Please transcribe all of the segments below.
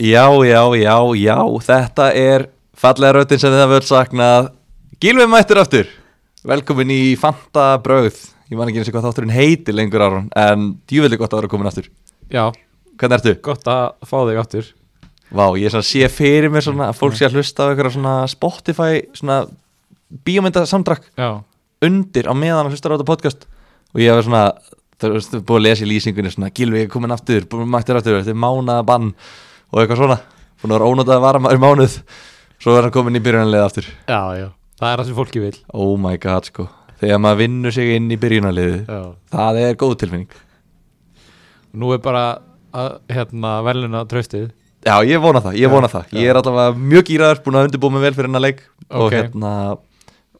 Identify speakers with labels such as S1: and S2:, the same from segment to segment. S1: Já, já, já, já, þetta er fallega röttin sem það völd saknað Gilvi mættur aftur Velkomin í Fanta Brauð Ég man ekki eins og hvað þátturinn heiti lengur Aron En djúvillig gott að vera komin aftur
S2: Já,
S1: Hvernig ertu?
S2: gott að fá þig aftur
S1: Vá, ég svona sé fyrir mér svona að fólk sé að hlusta á einhverja svona Spotify svona bíómyndasamdrakk
S2: Já,
S1: undir á meðan að hlusta á þetta podcast og ég hef svona þú veist, búið að lesa í lýsingunni svona Gilvi er komin aftur, búin mættir aftur þetta er mánaða bann og eitthvað svona búin að vera ónótað að vara maður mánuð svo er hann komin í byrjunarlið aftur
S2: já, já Það er það sem fólki vil
S1: oh my god sko, þegar maður vinnur sig inn í byrjunarliðið,
S2: já.
S1: það er góð tilfinning
S2: Nú er bara að, hérna, veluna traustið
S1: já, ég vona það, ég
S2: Já,
S1: vona það ég er allavega mjög gýraður, búin að undirbúa mig vel fyrir hennar leik og
S2: Ok.
S1: hérna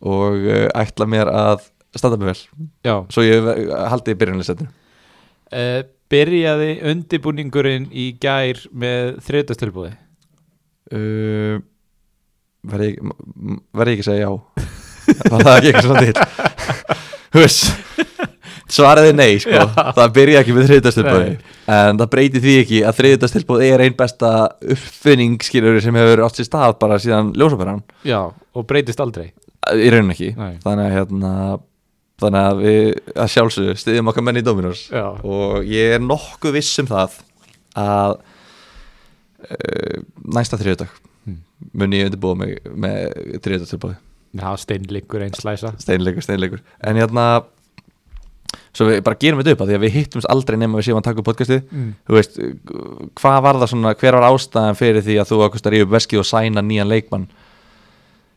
S1: og uh, ætla mér að standa mig vel,
S2: Já
S1: svo ég uh, haldi í byrjunarliðsettinu
S2: uh, Byrjaði undibúningurinn í gær með þriðdastilbúði
S1: Uh, verði ég, m- m- verð ég ekki að segja já það er ekki eitthvað svona til hús svaraði nei sko, það byrja ekki með þriðutastilbóði
S2: Nei.
S1: en það breyti því ekki að þriðutastilbóði er einn besta uppfinning skilur sem hefur átt sér stað bara síðan ljósaperan
S2: Já, og breytist aldrei
S1: í raunin ekki
S2: Nei.
S1: þannig að, hérna, þannig að við að sjálfsögðu stiðjum okkar menn í Dominos
S2: Já,
S1: og ég er nokkuð viss um það að uh, næsta þriðudag
S2: Hmm.
S1: mun ég undirbúa mig með þriðudagstilbúi
S2: það var steinlingur einn slæsa
S1: steinleikur, steinleikur en hérna svo við bara gerum þetta upp að því að við hittumst aldrei nema við séum að taka upp podcastið
S2: mm.
S1: þú veist, uh, hvað var það svona hver var ástæðan fyrir því að þú ákvæmst að ríða upp veskið og sæna nýjan leikmann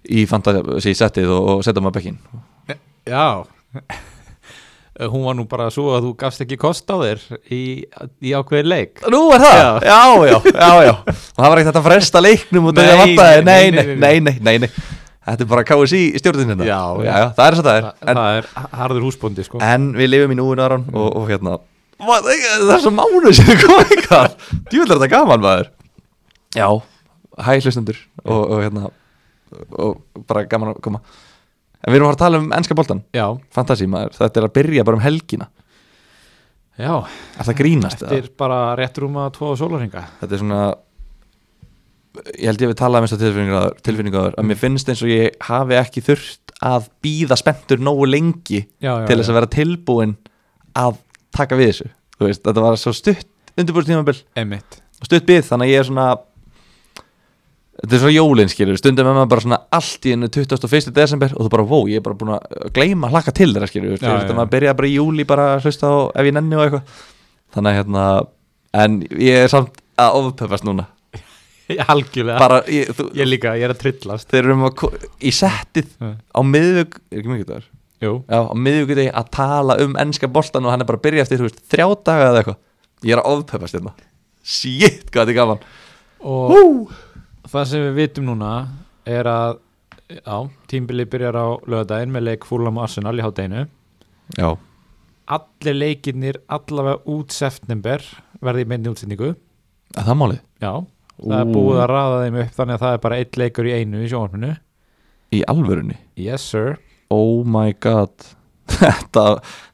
S1: í fantasy settið og, og setja maður bekkin
S2: Já Eh, Hún var nú bara svo að þú gafst ekki kost á þér í, í ákveðin leik
S1: Nú er það, já, já, já, já, Og það var ekkert hægt að fresta leiknum út af því að
S2: Nei,
S1: vantaði nei
S2: nei,
S1: nei nei, nei, nei, nei Þetta er bara KSI í stjórnin hérna
S2: Já,
S1: já,
S2: já.
S1: já, það er svo það er
S2: Þa,
S1: En,
S2: Það er harður húsbóndi sko
S1: en við lifum í núinu Aron og, og hérna Vá, Það það er svo mánuð sem við komum eitthvað Djúvill er þetta gaman maður Já, hæ hlustendur og, og hérna og bara gaman að koma En við erum að fara að tala um ennska boltan
S2: Já,
S1: Fantasí maður, þetta er að byrja bara um helgina
S2: já
S1: Er það að grínast? eða?
S2: Eftir bara rétt rúma tvo sólarhinga
S1: þetta er svona ég held ég við talaði mest á tilfinningaður, tilfinningaður
S2: Mm.
S1: að mér finnst eins og ég hafi ekki þurft að býða spenntur nógu lengi
S2: já, já,
S1: til þess
S2: já.
S1: að vera tilbúin að taka við þessu Þú veist, þetta var svo stutt undirbúrst tímabil
S2: Einmitt
S1: og stutt bið þannig að ég er svona þetta er svo jólin skilur stundum er maður bara svona allt í hennu 21. desember og þú bara vó, ég er bara búin að gleyma að hlaka til þeirra skilur,
S2: Já,
S1: þetta
S2: já.
S1: maður byrja bara í júli bara að hlusta á ef ég nenni og eitthvað þannig að hérna, en ég er samt að ofpöfast núna
S2: Algjörlega
S1: bara, ég, þú,
S2: Ég líka, ég er að trillast
S1: þeir eru um að ko- í settið á miðvögg, er ekki mikið dagar
S2: Jú,
S1: já, á miðvöggudegi að tala um ennska boltan og hann er bara að byrja eftir, þú veist, þrjá daga eða eitthvað ég er að ofpöfast hérna shit, hvað þetta er gaman
S2: og það sem við vitum núna er að Já, tímbili byrjar á lögadaginn með leik Fúlam og Arsenal í hátdeinu
S1: já,
S2: Allir leikinnir allavega út september verði í myndi útsendingu
S1: er það málið?
S2: Já, það er búið að raða þeim upp þannig að það er bara eitt leikur í einu í sjónvarpinu
S1: í alvörunni
S2: Yes sir
S1: oh my god þetta,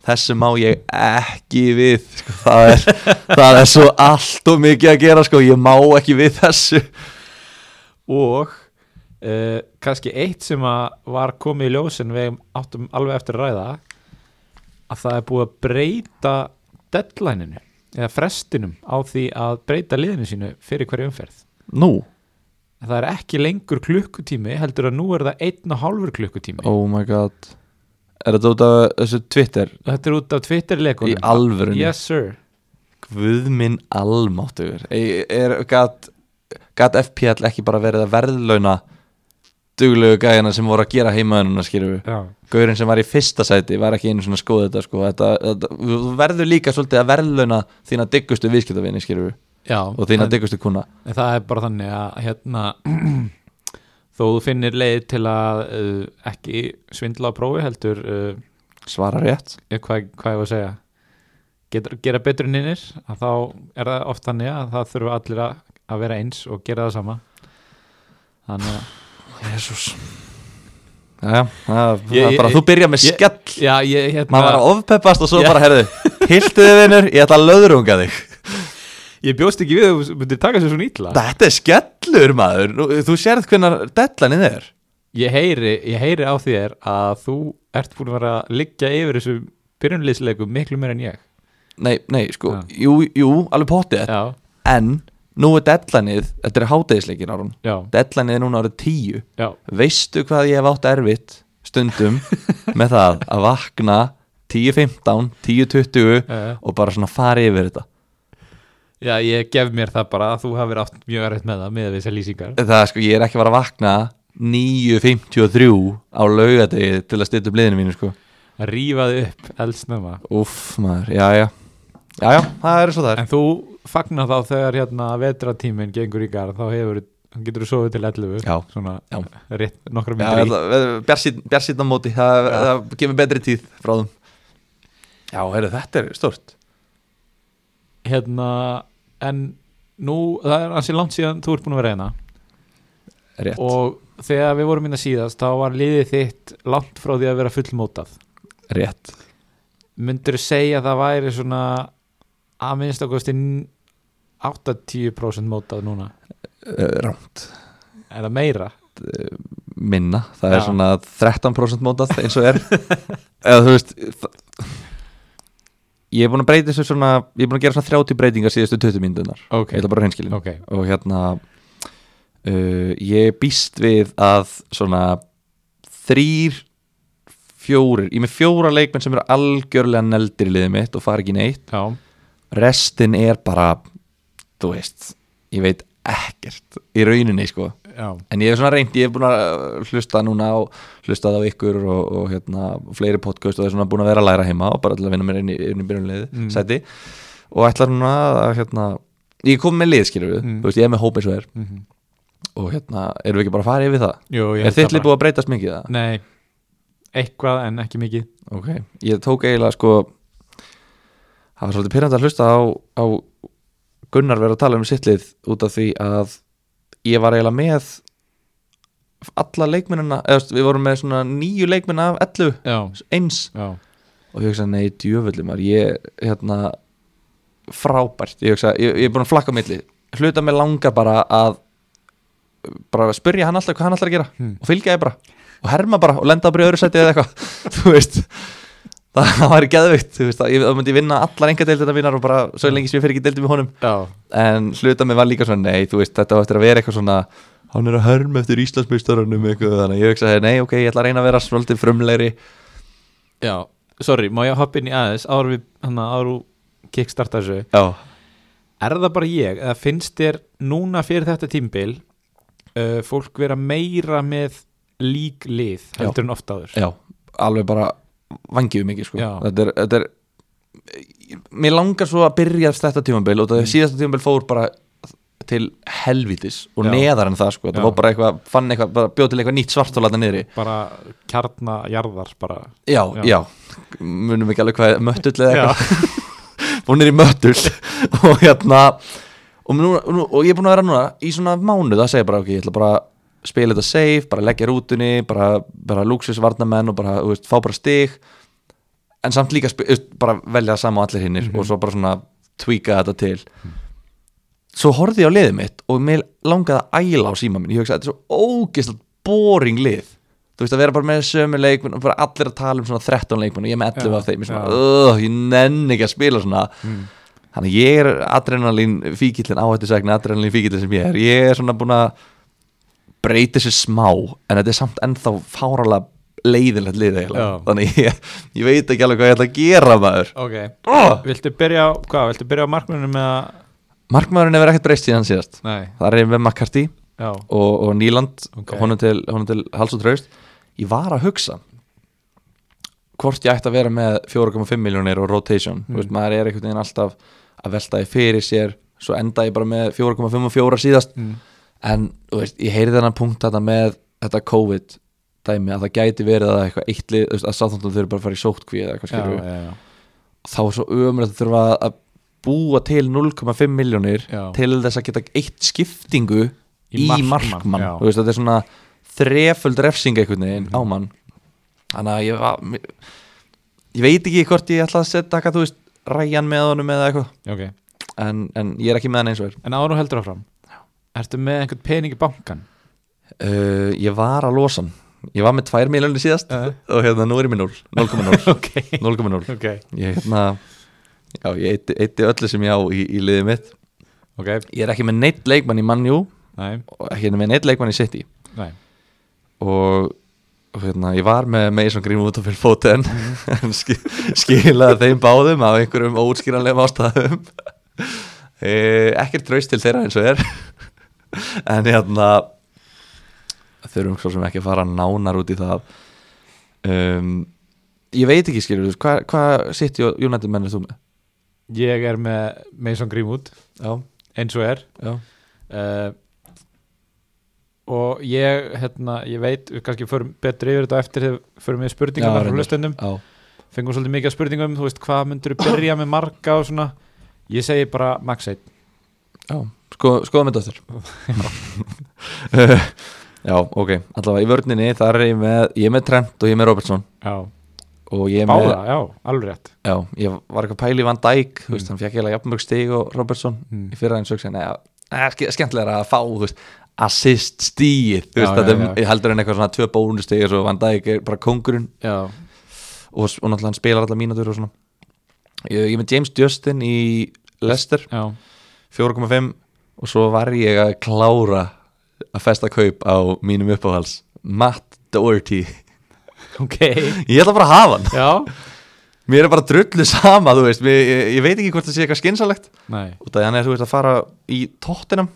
S1: þessu má ég ekki við sko, það, er, það er svo allt og mikið að gera sko, ég má ekki við þessu
S2: Og uh, kannski eitt sem að var komið í ljósin við áttum alveg eftir að ræða að það er búið að breyta deadlineinu eða frestinum á því að breyta liðinu sínu fyrir hverju umferð.
S1: nú,
S2: Það er ekki lengur klukkutími heldur að nú er það einn og hálfur klukkutími
S1: oh my god er þetta út af þessu Twitter
S2: Þetta er út af Twitter-leikunum
S1: í alvörunni
S2: Yes sir
S1: Guð minn almáttugur Ei- er gat, gat FPL ekki bara verið að verðlauna duglegu gæjana sem voru að gera heimaðununa skýrðu
S2: Já,
S1: Gaurinn sem var í fyrsta sæti var ekki einu svona að skoða þetta sko þetta, þetta, Þú verður líka svolítið að verðlauna þína diggustu viðskiptavinni skýrðu og þína
S2: en-
S1: diggustu kuna
S2: En það er bara þannig að hérna, þó þú finnir leið til að uh, ekki svindla á prófi heldur uh,
S1: Svara rétt
S2: eh, hvað, hvað ég var að segja Getur, gera betur en innir að þá er það oft þannig að það þurfa allir að, að vera eins og gera það sama Þannig að
S1: Jésús Jæja, það það
S2: Ég-
S1: er bara,
S2: ég-
S1: þú byrja með
S2: ég-
S1: skell
S2: Já, ég hérna
S1: Maður var að ofpeppast og svo
S2: Já.
S1: bara, herðu Hiltuðu vinnur, ég ætla að löðrunga þig
S2: Ég bjóst ekki við að þú myndir taka sér svona ítla
S1: Þetta er skellur maður Nú, Þú sérð hvernar deadlineið er
S2: ég heyri, ég heyri á þér að þú ert búin að vera að liggja yfir þessu byrjunlýsleikum miklu meir en ég
S1: Nei, nei, sko,
S2: Já.
S1: jú, jú, alveg pottið
S2: Já,
S1: En nú er deadlineið Þetta er hátegisleikin árun
S2: já,
S1: Deadlineið er núna árið tíu
S2: já,
S1: Veistu hvað ég hef átt erfitt stundum með það að vakna 10.15, 10.20
S2: já
S1: og bara svona fara yfir þetta
S2: Já, ég gef mér það bara að þú hafir átt mjög erfitt með það með þessar lýsingar
S1: Það er sko, ég er ekki bara að vakna 9.53 á laugadegi til að stilla upp liðinu mínu sko
S2: að rífa þig upp eldsnöma
S1: Úff maður, já já Já já, það er svo það er
S2: En þú fagnar þá þegar hérna vetratíminn gengur í garð þá hefur, getur þú sofið til 11
S1: Já.
S2: svona
S1: Já.
S2: rétt nokkra
S1: Já,
S2: myndir í
S1: þetta- bjarsýnn- Bjarsýnn á móti, það, það kemur betri tíð frá þeim Já, heyrðu, þetta er stort
S2: Hérna, en nú, það er ansi langt síðan þú ert búin að vera hérna
S1: Rétt,
S2: og þegar við vorum minna síðast þá var liðið þitt langt frá því að vera fullmótað
S1: rétt
S2: myndur segja að það væri svona að minnst ákosti 80% mótað núna
S1: uh, Rámt
S2: er það meira
S1: minna, það er
S2: Já.
S1: svona 13% mótað eins og er eða þú veist það... ég er búin að breyta þessu svona ég er búin að gera svona 30 breytingar síðustu 20 myndunar
S2: ok,
S1: ég ætla bara hreinskilin
S2: ok,
S1: og hérna uh, ég býst við að svona þrýr fjórir, ég er með fjóra leikmenn sem eru algjörlega neldir í liðið mitt og fara ekki neitt
S2: já
S1: restin er bara þú veist, ég veit ekkert í rauninni sko
S2: já,
S1: En ég hef svona reynd, ég hef búin að uh, hlusta núna á, hlustað á ykkur og, og hérna, fleiri podcast og það er svona búin að vera að læra heima og bara til að vinna mér inn í, inn í byrjunliði,
S2: Mm.
S1: sæti og ætla núna að, hérna, ég kom með lið, skilur við,
S2: Mm.
S1: þú veist, ég er með hóp eins og er
S2: mhm
S1: og hérna, erum við ekki bara að fara yfir það?
S2: Jú, ég
S1: er
S2: held
S1: þitt
S2: það
S1: lið búið að breytast mikið það?
S2: Nei, eitthvað en ekki mikið
S1: Ok, ég tók eiginlega sko, það var svolítið pyrrandi að hlusta á, á Gunnar vera að tala um sitt lið út af því að ég var eiginlega með alla leikmennina, eða þú veist, við vorum með svona nýju leikmenn af 11
S2: Já,
S1: eins
S2: já,
S1: og ég hugsa nei djöfulli maður ég hérna frábært, ég hugsa, ég, ég er búin að flakka á milli hluta mig langar bara að bara að spyrja hann alltaf hvað hann alltaf að gera
S2: Hmm.
S1: og fylgja ég bara og herma bara og lenda bara í öðru sæti eða eitthvað þú veist það, það væri geðvikt, þú veist það, ég, það myndi ég vinna allar enga deildina mínar og bara svo lengi sem ég fer ekki deildum í honum
S2: já,
S1: en hluta mig var líka svona nei, þú veist, þetta var eftir að vera eitthvað svona hann er að hörma eftir Íslandsmeistarunum eitthvað, þannig að ég hugsa nei, ok, ég ætla að reyna að vera svolítið frumlegri
S2: já Sorry, má ég hoppa inn í aðeins áður við, hann áður við kickstarta þessu
S1: já,
S2: Er það bara ég, eða finnst þér núna fyrir þetta tímbil uh, fólk vera meira með lík lið
S1: Já.
S2: heldur en oft áður
S1: já, alveg bara vangiðu mikið, sko,
S2: Já.
S1: þetta er, þetta er mér langar svo að byrja þetta tímabil og það
S2: Mm.
S1: síðasta tímabil fór bara til helvitis og
S2: Já.
S1: neðar en það sko,
S2: Já.
S1: þetta var bara eitthvað, fann eitthvað, bara bjóð til eitthvað nýtt svart og lata niðri
S2: bara kjarnajarðar bara
S1: já,
S2: Já.
S1: já, munum ekki alveg hvað möttull eða eitthvað
S2: Já,
S1: hún er í möttul og hérna og, nú, nú, og ég er búin að vera núna í svona mánuð að segja bara ok, ég ætla bara að spila þetta safe, bara leggja rútunni bara, bara lúksusvarnamenn og bara, þú veist, fá bara stig en samt líka spi- þú veist, bara velja saman á allir
S2: Mhm.
S1: hinnir og svo bara svona tweaka þetta til svo horfði ég á liðið mitt og mér langaði að æla á síma minn ég hugsaði, þetta er svo ógeðslega boring lið þú veist að vera bara með sömu leikmenn og bara allir að tala um svona 13 leikmenn og ég er með 11
S2: Já,
S1: af þeim ég, svona,
S2: já. Mm.
S1: "Ugh, ég nenni ekki að spila svona þannig að ég er adrenalín fíkillin áhættu segna adrenalín fíkillin sem ég er ég er svona búin að breyta sér smá en þetta er samt ennþá fáralega leiðilegt lið eiginlega
S2: Já.
S1: þannig ég, ég veit ekki alveg hvað ég ætla að gera maður
S2: ok
S1: oh!
S2: Viltu byrja á, hvað, viltu byrja á markmennum með að,
S1: markmaðurinn hefur ekkert breyst síðan síðast
S2: nei,
S1: það er ég með McCarthy
S2: já
S1: og, og Nýland
S2: Ok.
S1: honum, til, honum til hals og traust ég var að hugsa hvort ég ætti að vera með 4,5 miljónir og rotation
S2: Mm.
S1: Þú veist, maður er einhvern veginn alltaf að velta því fyrir sér svo enda ég bara með 4,5 og 4 síðast
S2: mm.
S1: en þú veist, ég heyri þennan punkt þetta með þetta COVID dæmi að það gæti verið að eitthvað eittlið að sáþóndum þurfi bara að fara í sótkví eða eitthvað
S2: já,
S1: skilur
S2: já, já,
S1: þá er svo ömulegt að þurfa að búa til 0,5 miljónir
S2: Já.
S1: til þess að geta eitt skiptingu í, markmann
S2: já.
S1: þú veist, þetta er svona þreföld refsing einhvern veginn á mann þannig að ég var mér- ég veit ekki hvort ég ætla að setja eitthvað, þú veist, ræjan með honum eða eitthvað
S2: Ok,
S1: en, en ég er ekki með hann eins og er
S2: En áður og heldur áfram Ertu með einhvern pening í bankan?
S1: uh, Ég var að losa hann Ég var með 2 miljonir síðast
S2: Eh.
S1: og hérna nú er ég með 0 0,0
S2: ok,
S1: 0,0
S2: ok,
S1: Ég hérna Já, ég eitti, eitti öllu sem ég á í, í liðið mitt
S2: ok
S1: Ég er ekki með neitt leikmann í Manjú
S2: Nei,
S1: og ekki með neitt leikmann í City
S2: nei,
S1: og, og hérna, ég var með Mason Greenwood og Phil Foden en ski, skilaði þeim báðum af einhverjum óutskýranlegum ástæðum e, ekkert traust til þeirra eins og er en hérna þurfum svo sem ekki að fara nánar út í það um, ég veit ekki skilur þú veist, hvað hva sitt United menn er þú með?
S2: ég er með Mason Greenwood
S1: Já,
S2: eins og er
S1: já,
S2: uh, og ég, hérna, ég veit við kannski förum betri yfir þetta á eftir þegar við förum við
S1: Já,
S2: spurningar frá
S1: reyndar.
S2: hlustendum
S1: já.
S2: fengum svolítið mikið af spurningum, þú veist hvað myndur byrja með marga og svona ég segi bara max 1
S1: Já, sko, skoða með dóttir Já, ok Allavega í vörninni, þar er ég með Ég er með Trent og ég er með Robertson
S2: já,
S1: og ég er með,
S2: báða, já, alveg rétt
S1: já, ég var eitthvað pæli Van Dijk, þú veist,
S2: Mm.
S1: hann fekk eiginlega jafnmörg stig og Robertson
S2: Mm.
S1: í fyrra eins og sem, neða, skemmtilega að fá, þú veist, assist stíð, þú veist,
S2: Já,
S1: þetta
S2: já,
S1: er- ég heldur en eitthvað svona tvö bónustig og svo Van Dijk er bara kongurinn
S2: já,
S1: og, og náttúrulega hann spilar alla mínatur og svona Ég, ég er með James Justin í Leicester 4,5 og svo var ég að klára að festa kaup á mínum uppáhals Matt Doherty
S2: ok
S1: ég ætla bara að hafa hann
S2: já,
S1: mér er bara drullu sama, þú veist mér, ég, ég veit ekki hvort það sé eitthvað skynsalegt
S2: nei,
S1: og það er þú veist að fara í tóttinum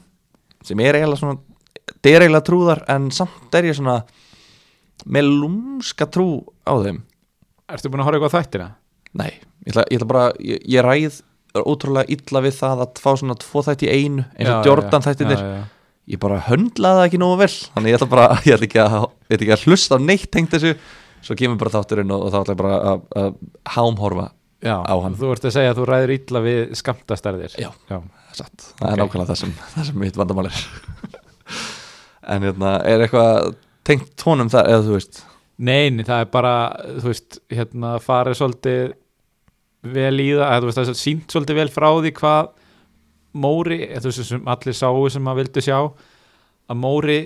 S1: sem er eiginlega svona þetta er eiginlega trúðar en samt er ég svona með lúmska trú á þeim
S2: ertu búin að horfa eitthvað á þættina?
S1: nei, ég ætla, ég ætla bara ég, ég ræð ótrúlega illa við það að fá svona tvo þætti í einu eins og
S2: Já,
S1: Jordan
S2: já,
S1: þættinir
S2: já, já.
S1: ég bara höndlaði það ekki nógu vel þannig ég ætla bara, ég ætla ekki að, ég ætla ekki að hlusta á neitt tengt þessu, svo kemur bara þátturinn og, og þá ætla ég bara að, að hámhorfa
S2: Já,
S1: á hann.
S2: þú ert að segja að þú ræðir illa við skamtastærðir
S1: Já.
S2: já,
S1: satt, það er
S2: Ok.
S1: nákvæmlega það sem, það sem mitt vandamál er en hérna, er eitthvað tengt honum þar, eða þú veist
S2: Nein, það er bara, þú veist, hérna farið svolítið vel í það, eða þú veist, það er sínt svolítið vel frá því hvað Móri, eða þú veist, sem allir sáu sem að vildu sjá, að Móri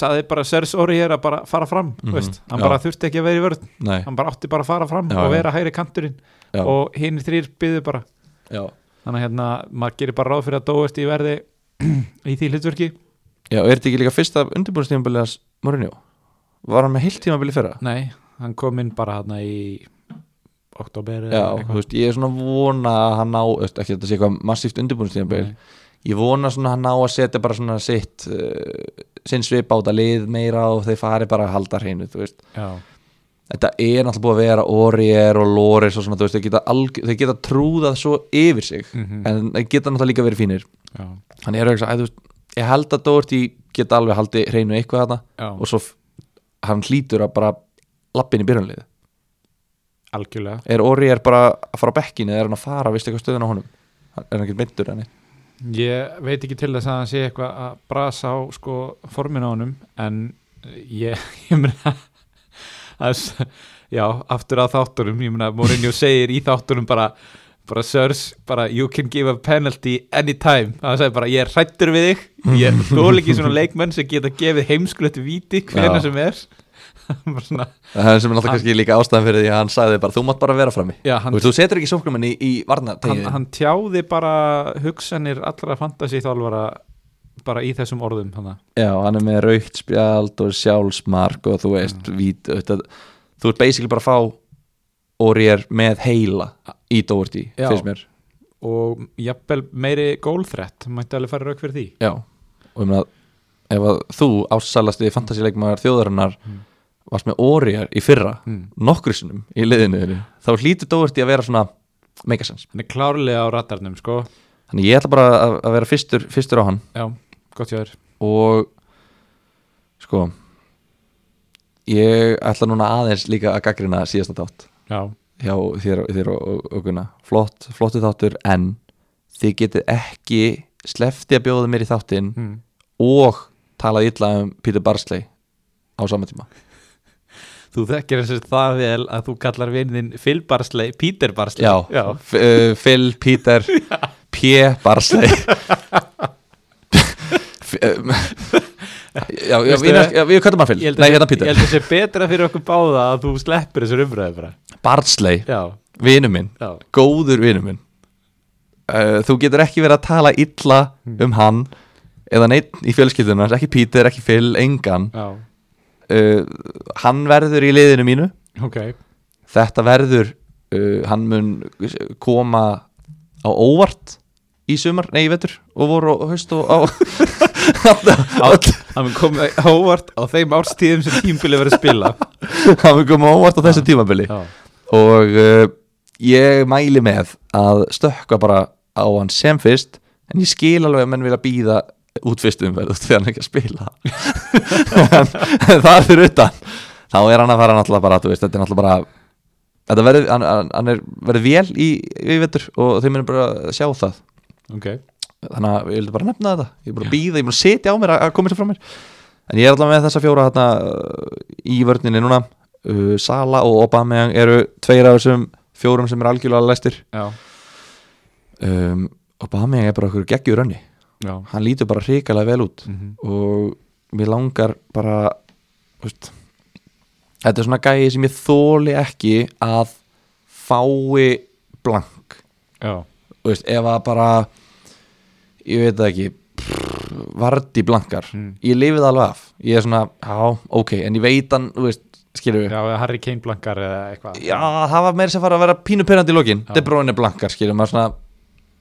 S2: saði bara Sers Orier að bara fara fram,
S1: Mhm,
S2: þú veist, hann
S1: já.
S2: bara þurfti ekki að vera í vörð,
S1: nei,
S2: hann bara átti bara að fara fram
S1: Já,
S2: og
S1: já.
S2: vera hægri kanturinn
S1: já,
S2: og hinn þrýr byðu bara,
S1: já,
S2: þannig að hérna, maður gerir bara ráð fyrir að dóast í verði í því hlutverki,
S1: já, er þetta ekki líka fyrsta undirbúinstímabilið hans Mourinho var hann með heilt tímabilið fyrra?
S2: nei, hann kom inn bara hérna í oktober
S1: Já, þú veist, ég er svona vona að hann ná, þú veist, ekki að þetta sé eitthvað massíft undirbúinstímabil ég vona svona hann á að setja bara svona sitt uh, sinn svip á þetta lið meira og þeir fari bara að halda hreinu þú veist,
S2: já,
S1: þetta er náttúrulega búið að vera Orier og Loris og svona, þú veist, þeir geta, alg, þeir geta trúðað svo yfir sig
S2: Mhm.
S1: en þeir geta náttúrulega líka verið fínir
S2: já.
S1: hann er ekki, að, þú veist, ég held að Doherty geta alveg haldið hreinu eitthvað þarna
S2: Já,
S1: og svo f- hann hlýtur að bara lappin í byrjunlið,
S2: algjörlega
S1: er Orier bara að fara á bekkinu, eða er hann að fara, veistu eitthvað stöðun á honum Hann- er hann ekki myndur henni
S2: Ég veit ekki til þess að hann sé eitthvað að brasa á sko formin á honum en ég, ég meina að s- já, aftur að þáttunum ég meina, Mourinho segir í þáttunum bara bara Sörs, bara you can give a penalty anytime, það segir bara ég er hrættur við þig, ég er þól ekki svona leikmenn sem geta gefið heimsklut víti hvena
S1: Já.
S2: sem er bara svona,
S1: það er sem er náttúrulega
S2: Hann-
S1: kannski líka ástæðan fyrir því að hann sagði bara þú mátt bara vera frammi Þú
S2: já, hann,
S1: veist, þú setur ekki sóknumenn í, í
S2: hann,
S1: varnategin
S2: hann tjáði bara hugsanir allra fantasi þálfara bara í þessum orðum hann
S1: Já, hann er með raukt spjald og sjálfsmark og þú veist,
S2: Mm.
S1: vít, þetta, þú ert basically bara að fá Orier með heila í Doherty,
S2: Já.
S1: finnst mér
S2: og jafnvel meiri gólþrætt mætti alveg fara rauk fyrir því
S1: Já, og ég meina ef að þú ássalasti fantasíleikmaður þjóðarinnar
S2: Mm.
S1: varst með Orier í fyrra,
S2: mm.
S1: nokkru sinnum í liðinu þínu, þá hlýtur Doherty að vera svona make sense.
S2: hann er klárlega á ratarnum sko
S1: Þannig ég ætla bara að, að vera fyrstur, fyrstur á hann
S2: já, gott hjá þér
S1: og sko ég ætla núna aðeins líka að gaggrina síðasta þátt
S2: já,
S1: hjá þér, þér og, og, og Gunna flott, flottu þáttur en þið getið ekki slefti að bjóða mér í þáttinn
S2: mm.
S1: og talað illa um Peter Barsley á sama tíma
S2: þú þekkir þess að það vel að þú kallar vinnin Phil Barsley, Peter Barsley
S1: já, já. Uh, Phil, Peter P. Barsley F- um, Já, já,
S2: Veistu,
S1: Vínars- já, við köttum hann
S2: Ég
S1: fyrir
S2: held að
S1: Nei, hérna
S2: sé-
S1: Peter
S2: Ég held að sé betra fyrir okkur báða að þú sleppir þessar umræði bara
S1: Barsley,
S2: Já,
S1: vinur minn
S2: já,
S1: Góður vinur minn uh, Þú getur ekki verið að tala illa um hann eða neitt í fjölskyldunum hans, ekki Peter, ekki Phil, engan
S2: já,
S1: uh, Hann verður í liðinu mínu
S2: ok
S1: þetta verður uh, hann mun koma á óvart í sumar, nei í vetur og voru á haust og á
S2: Það mun koma óvart á þeim árstíðum sem tímbili verið að spila
S1: hann mun koma á óvart á þessu tímabili
S2: Já,
S1: og uh, ég mæli með að stökkva bara á hann sem fyrst en ég skil alveg að menn vilja býða út fyrst umverð út þegar hann er ekki að spila en það er fyrir utan þá er hann að fara náttúrulega bara þú veist, þetta er náttúrulega bara þetta verður, hann, hann- hann er verður vel í, í vetur og þeim munum bara að sjá það
S2: ok
S1: þannig að ég vildi bara nefna þetta ég er bara að býða, ég er bara að setja á mér að, að koma sér frá mér en ég er allavega með þessa fjóra hérna, uh, í vörninni núna uh, Sala og Aubameyang eru tveir af þessum fjórum sem eru algjörlega læstir
S2: Já,
S1: um, Aubameyang er bara okkur geggjur önni
S2: já
S1: hann lítur bara hrikalega vel út
S2: mhm,
S1: og mér langar bara þú veist, þetta er svona gæi sem ég þóli ekki að fái blank
S2: Já,
S1: þú veist, ef að bara ég veit það ekki prr, vardi blankar
S2: Mm.
S1: ég lifið alveg af, ég er svona já, ok, en ég veit hann, þú veist, skilur við já,
S2: já, eða Harry Kane blankar eða eitthvað
S1: það var meira sem fara að vera pínu pyrrandi í lokin,
S2: Já.
S1: De Bruyne blankar skilur, maður svona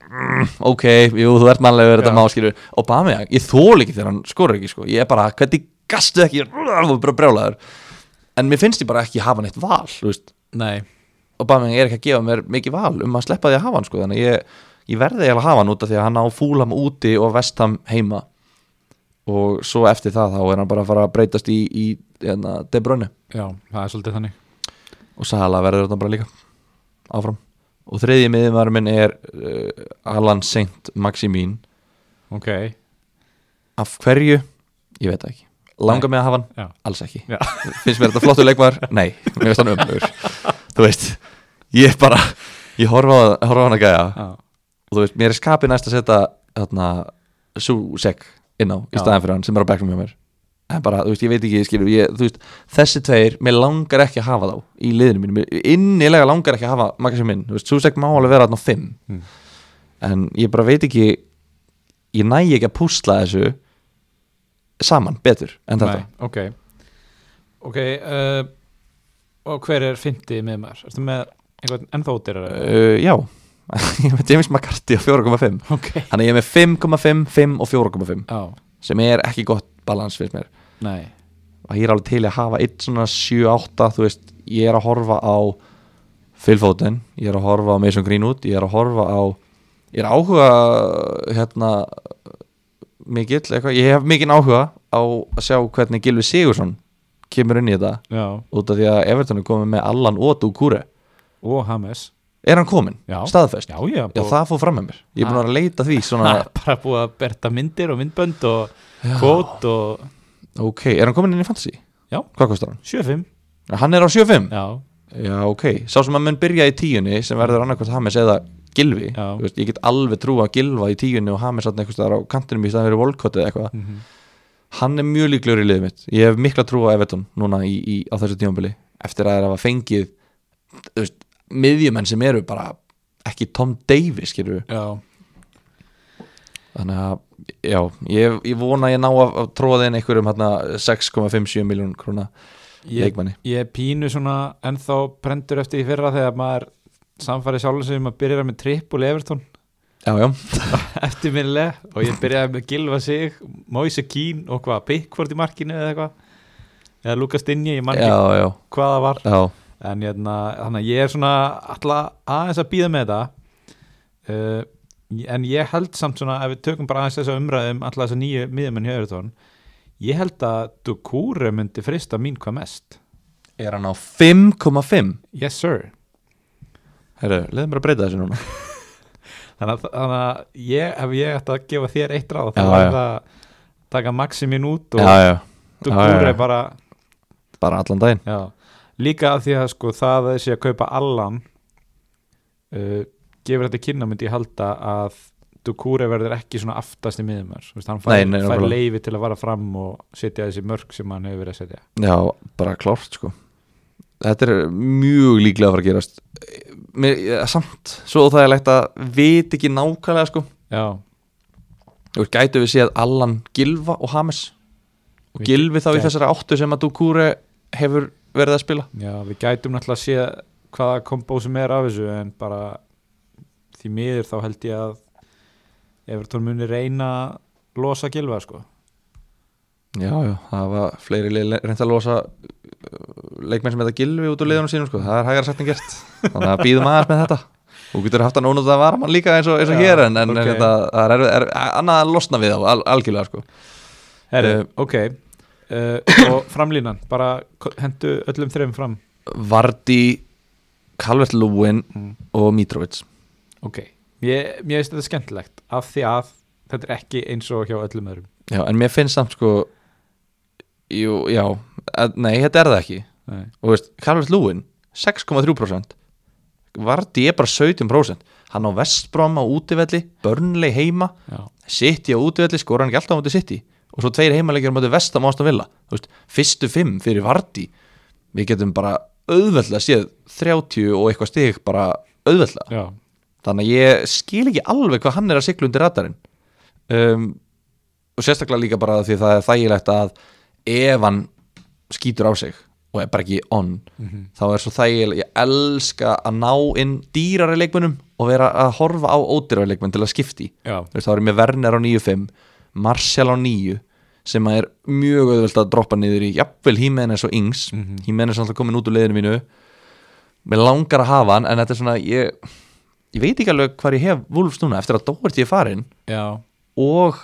S1: mm, ok, jú, þú ert mannlegur
S2: Já.
S1: þetta má, skilur við Obama, ég þól ekki þegar hann skorur ekki, sko ég er bara, hvernig gastu ekki ég er alveg bara brjálaður en mér finnst ég bara ekki hafa neitt val, þú veist
S2: Nei,
S1: Aubameyang er ekki að gefa mér mikið val um að sleppa því að hafa hann sko þannig að ég, ég verði eiginlega að hafa hann út af því að hann á fúlam úti og vestam heima og svo eftir það þá er hann bara að fara að breytast í, í hérna, De Bruyne
S2: já, það er svolítið þannig
S1: og Sala verður þetta bara líka áfram og þriðji miðumar minn er uh, Alan Saint Maximin
S2: Ok,
S1: af hverju, ég veit það ekki langar mig að hafa hann,
S2: já,
S1: alls ekki
S2: já
S1: finnst mér þetta flottur leikmaður? Nei, mér finnst hann umlugur þú veist, ég bara ég horfa á horfa á hann að gæja
S2: Já,
S1: og þú veist, mér er skapið næst að setja þarna, Susek inn á í
S2: Já.
S1: staðan fyrir hann sem er á bekknum hjá mér en bara, þú veist, ég veit ekki, ég skilur ég, þú veist, þessi tveir, mér langar ekki að hafa þá í liðinu mínu, mér innilega langar ekki að hafa makka sem minn, þú veist, Susek má alveg vera þarna á fimm
S2: Mm.
S1: en ég bara veit ekki ég næ ekki að púsla þessu saman, betur en þetta
S2: Nei, ok Ok, uh, og hver er fyndið með maður? Ertu með einhvern ennþótir?
S1: uh, Já, ég veit, James McCarthy á 4,5
S2: ok
S1: Þannig að ég er með 5,5, 5 og 4,5
S2: Eh. Já,
S1: sem er ekki gott balans fyrir mér
S2: nei,
S1: og ég er alveg til í að hafa eitt svona 7-8 þú veist, ég er að horfa á Phil Foden, ég er að horfa á Mason Greenwood, ég er að horfa á ég er áhuga hérna mikill, eitthvað, ég hef mikinn áhuga á að sjá hvernig Gilvi Sigursson kemur inn í þetta
S2: já
S1: út af því að Everton er komið með Allan og Dukure
S2: Og Hames
S1: er hann komin,
S2: Já.
S1: staðfest
S2: Já, já,
S1: Já, það fór fram með mér, ég er búin að vera að leita því svona,
S2: bara búið að berta myndir og myndbönd og kvót og
S1: ok, er hann komin inn í fantasy?
S2: Já.
S1: Hvað kostar hann?
S2: 7-5
S1: Hann er á 7.5?
S2: Já,
S1: Já, ok. Sá sem að mun byrja í tíunni sem verður annarkvæmt Hames eða Gilvi.
S2: Já.
S1: Þú Veist, ég get alveg trú að Gilva í tíunni og Hames alltaf einhvers staðar á kantinum í staðan fyrir Volkott eða eitthvað.
S2: mm
S1: Hann er mjög líklegur í liðið mitt. Ég hef mikla trú á Everton núna í, í, á þessu tíumbili eftir að það hafa fengið þú veist, miðjumenn sem eru bara ekki Tom Davies, skilur
S2: já,
S1: Þannig að, já, ég, ég vona að ég ná að, að tróða inn einhverjum hérna 6,57 miljón krona
S2: ég,
S1: leikmanni.
S2: ég er pínu svona ennþá brendur eftir í fyrra þegar maður samfæri sjálfum sem að byrja með trippul Everton
S1: Já, já.
S2: eftir minnilega og ég byrjaði með Gilva sig, Moise Keane og hvað, Pickford í markinu eða eitthvað eða Lucas Dinje, ég man
S1: Já,
S2: ekki
S1: já,
S2: hvað það var
S1: já.
S2: en hérna, þannig að ég er svona alltaf aðeins að býða með þetta uh, en ég held samt svona, ef við tökum bara aðeins þessa umræðum alltaf þessa nýju miðjumenn hjá Evertón ég held að Dukure myndi frista mín hvað mest
S1: Er hann á 5,5?
S2: yes sir
S1: Herru, leiðum bara að breyta þessu núna
S2: þannig að, þannig að ég, ef ég ætti að gefa þér eitt ráð þá
S1: Já,
S2: var
S1: já.
S2: það að taka Maximin út og
S1: já, já, já,
S2: Dukure
S1: já.
S2: bara
S1: bara allan daginn
S2: já. líka af því að sko, það að þessi að kaupa Allan uh, gefur þetta kynna myndi ég halda að Dukure verður ekki svona aftast í miðum hans, Þú veist, hann
S1: Nei,
S2: fær,
S1: nei,
S2: fær
S1: nákvæmlega.
S2: leifi til að vara fram og setja þessi mörg sem hann hefur verið að setja
S1: Já, bara klárt sko Þetta er mjög líklega að fara að gerast Mér, eh, Samt, svo það er legt að vit ekki nákvæmlega sko
S2: já,
S1: og gætu við séð Allan Gilva og Hames og
S2: Við
S1: Gilvi þá í
S2: gætum-
S1: þessari áttu sem að Dukure hefur verið að spila
S2: já, við gætum náttúrulega að sé hvaða kombo sem er af þessu en bara því miður þá held ég að Evertón muni reyna að losa gilfa sko
S1: Já, já, það var fleiri lið reynd að losa uh, leikmenn sem heita Gilvi út úr liðunum sínum sko, það er hægara sagt en gert þannig að býðum aðeins með þetta og getur haft hann ónútt að vara mann líka eins og, eins og
S2: Já,
S1: hér en, en
S2: ok.
S1: okay. þetta, það er, er, er annað að losna við á al, algjörlega sko
S2: Herri,
S1: Eh,
S2: ok uh, og framlínan, bara ko- hentu öllum þreim fram
S1: Vardi Calvert-Lewin
S2: Mm.
S1: og Mitrovic
S2: ok, ég, mér finnst þetta skemmtilegt af því að þetta er ekki eins og hjá öllum öðrum
S1: Já, en mér finnst samt sko Jú, já að, Nei, þetta er það ekki
S2: Nei.
S1: Og veist, Calvert-Lewin, 6,3% Vardi er bara 17% Hann á Vestbrom á útivelli Börnlei heima,
S2: já,
S1: City á útivelli Skora hann ekki alltaf á móti City Og svo tveir heimaleikir á móti Vestam á Aston Villa Þú veist, Fyrstu fimm fyrir Vardi Við getum bara auðveldlega séð 30 og eitthvað stig bara auðveldlega
S2: já,
S1: þannig að ég skil ekki alveg hvað hann er að sigla undir radarinn um, og sérstaklega líka bara því það er þægilegt að ef hann skýtur á sig og er bara ekki on þá er svo þægileg, ég elska að ná inn dýrari leikmunum og vera að horfa á ódýrari leikmun til að skipti
S2: já,
S1: Þú veist, þá erum við Werner á 9.5 Martial á 9 sem að er mjög auðvelt að droppa niður í jafnvel Hímenes og Ings mm
S2: Mhm.
S1: Hímenes er alltaf komin út úr leiðinu mínu mér langar að hafa hann en þetta er svona ég, ég veit ekki alveg hvað ég hef Wolves núna eftir að Doherty er farin
S2: já,
S1: og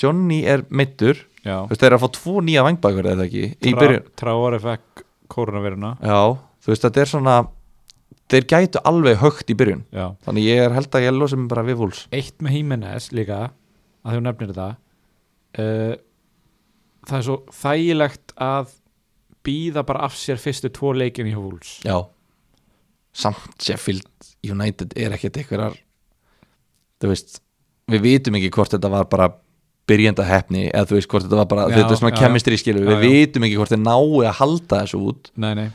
S1: Johnny er meittur
S2: já.
S1: þú veist þeir eru að fá tvo nýja vangbækur eða ekki í byrjun
S2: Traore fekk koronaviruna
S1: já þú veist þetta er svona þeir gætu alveg högt í byrjun
S2: já.
S1: þannig ég er held að ég losa mig bara við Wolves
S2: eitt með Jimenez líka að þú nefnir þetta uh, það er svo þægilegt að býða bara af sér fyrstu tvo leikin í Húls
S1: Já Samt Sheffield United er ekkert einhverjar Þú veist Við vitum ekki hvort þetta var bara byrjenda heppni eða þú veist hvort þetta var bara
S2: Já,
S1: þetta er svona
S2: já, já.
S1: kemistri skilu,
S2: Já,
S1: við
S2: já.
S1: vitum ekki hvort þeir nái að halda þessu út
S2: nei, nei.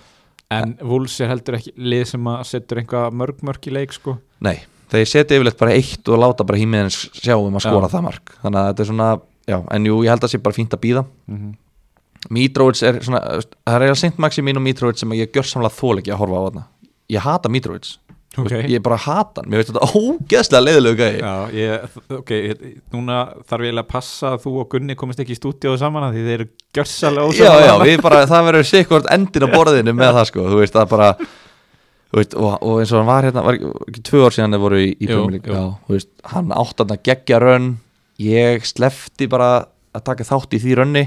S2: en Húls er heldur ekki lið sem að setur einhvað mörg mörg í leik sko.
S1: Nei, þeir setja yfirleitt bara eitt og láta bara hímiðin sjá um að
S2: Já.
S1: skora það mark þannig að þetta er svona, já, en jú, ég held að sé bara fínt að býða
S2: Mhm.
S1: Mitrovic er svona, þú veist, það er eiginlega sint maxi mín og Mitrovic sem ég gjör samlega þól ekki að horfa á þarna ég hata Mitrovic,
S2: ok,
S1: ég bara hata hann mér veist þetta ógeðslega leiðilega gæði
S2: já, ég, ok ég, núna þarf ég eiginlega að passa að þú og Gunni komist ekki í stúdíóðu saman að því þeir eru gjörsalega
S1: já, já,
S2: ósammála.
S1: við bara, það verður sikkvort endin á borðinu með það sko, þú veist, það bara þú veist, og, og eins og hann var hérna var ekki- ekki tvö ár síðan þeir voru í, í
S2: Jú,
S1: Premier League,
S2: jú.
S1: já, þú veist, hann átt hann að gegja rönn, ég slefti bara að taka þátt í því rönni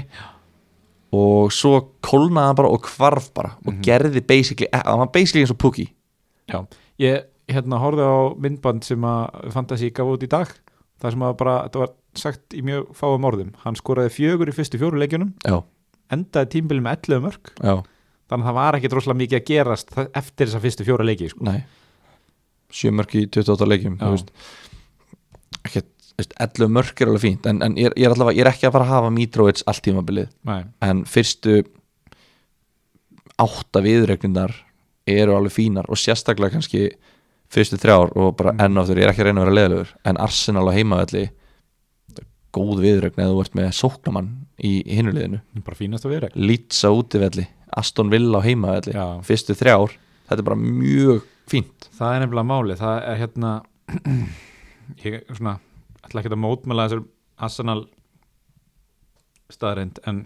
S1: og svo kólnaði hann bara og hvarf bara og
S2: Mhm.
S1: gerði basically, eh, hann var basically eins og Pukki
S2: Já, ég hérna horfði á myndband sem að Fantasí gaf út í dag það sem að bara, þetta var sagt í mjög fáum orðum, hann skoraði fjögur í fyrstu fjóru leikjunum,
S1: já,
S2: endaði tímbili með 11 mörg,
S1: já,
S2: þannig að það var ekki droslega mikið að gerast þa- eftir þessa fyrstu fjóru leiki sko.
S1: nei sjö mörk í 28 leikjum,
S2: Já.
S1: þú veist ekki, þú veist, 11 mörk er alveg fínt, en, en ég, er- ég er allavega ég er ekki að fara að hafa Mitrovic allt tímabilið
S2: Nei,
S1: en fyrstu átta viðregnindar eru alveg fínar og sérstaklega kannski fyrstu þrjár og bara enn á þeir ég er ekki að reyna að vera leðilegur en Arsenal á heimavelli góð viðregn eða þú ert með sóknamann í hinuleginu
S2: bara fínast að vera
S1: Leeds á útivelli, Aston Villa á heimavelli
S2: Já.
S1: fyrstu þrjár, þetta er bara mjög fínt
S2: Það er nefnilega máli, það er hérna ég svona ætla ekki að mótmæla þessar Arsenal staðarind en,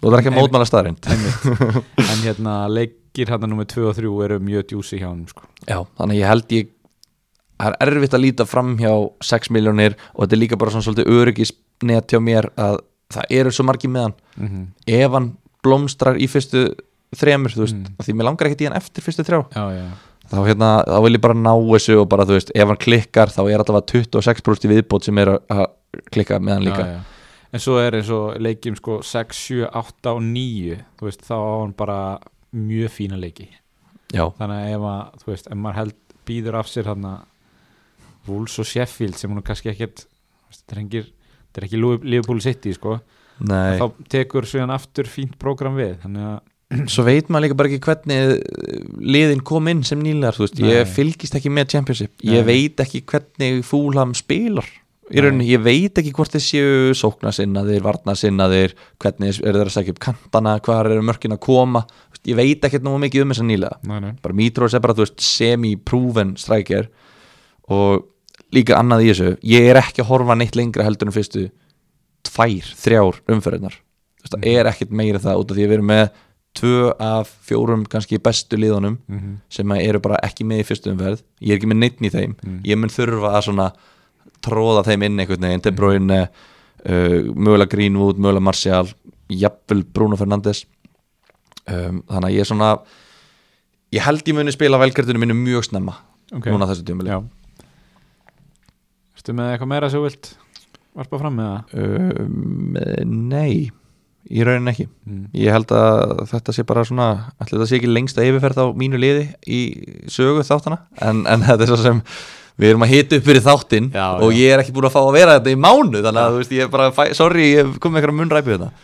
S1: og það er ekki að
S2: Nei.
S1: mótmála staðarind
S2: einmitt. en hérna leikir hérna nummer 2 og 3 eru mjög djúsi hjá hann sko.
S1: Já, þannig að ég held ég það er erfitt að líta fram hjá 6 miljónir og þetta er líka bara svona svolítið öryggisnet hjá mér að það eru svo margi með hann
S2: mm
S1: ef hann blómstrar í fyrstu þremur, þú veist,
S2: Mm.
S1: mm. því mér langar ekkert í hann eftir fyrstu þrjá,
S2: Já, já
S1: þá hérna þá vil ég bara ná þessu og bara, þú veist, ef hann klikkar þá er allavega 26% í viðbót sem er að að klikka með hann líka
S2: já, já. en svo er eins og leikjum sko 6, 7, 8 og 9 þú veist, þá á hann bara mjög fína leiki
S1: já,
S2: þannig að ef, að, þú veist, ef maður held býður af sér hann Wolves og Sheffield sem hún er kannski ekkert þetta er, engir, þetta er ekki Liverpool City sko.
S1: Nei,
S2: þá tekur síðan aftur fínt prógram við þannig að
S1: svo veit maður líka bara ekki hvernig eh, liðin kom inn sem nýlegar, þú veist, ég
S2: Nei.
S1: fylgist ekki með Championship, ég
S2: Nei.
S1: veit ekki hvernig fúlham spilar, í
S2: Nei.
S1: rauninni ég veit ekki hvort þeir séu sóknasinnaðir varnasinnaðir, hvernig er þeir að segja upp kantana, hvar eru mörkin að koma Þú veist, ég veit ekkert nógu mikið um þessa nýlega
S2: nei, nei.
S1: bara Mitros er bara, þú veist, semi-proven striker og líka annað í þessu, ég er ekki að horfa neitt lengra heldur en fyrstu tvær, þrjár umferðinar Þú veist, það er ekkert meira það út af því að við erum með tvö af fjórum kannski bestu liðunum
S2: Mhm.
S1: sem að eru bara ekki með í fyrstu umferð ég er ekki með neittn í þeim,
S2: Mm.
S1: ég mun þurfa að svona tróða þeim inn einhvern veginn til bróin uh, mögulega Greenwood, mögulega Martial jafnvel Bruno Fernandes um, þannig að ég er svona ég held ég muni spila velkertunum mínu mjög snemma
S2: Ok.
S1: núna þessu tímuli
S2: Já Ertu með eitthvað meira sem þú vilt varpa fram með það?
S1: um, nei í raunin ekki
S2: Mm.
S1: ég held að þetta sé bara svona ætli þetta sé ekki lengsta yfirferð á mínu liði í sögu þáttana en, en þetta er svo sem við erum að hita upp fyrir þáttinn
S2: Já,
S1: og
S2: já.
S1: ég er ekki búin að fá að vera þetta í mánu þannig að þú veist ég er bara, fæ- sorry, ég kom með eitthvað munnræpi hérna. þetta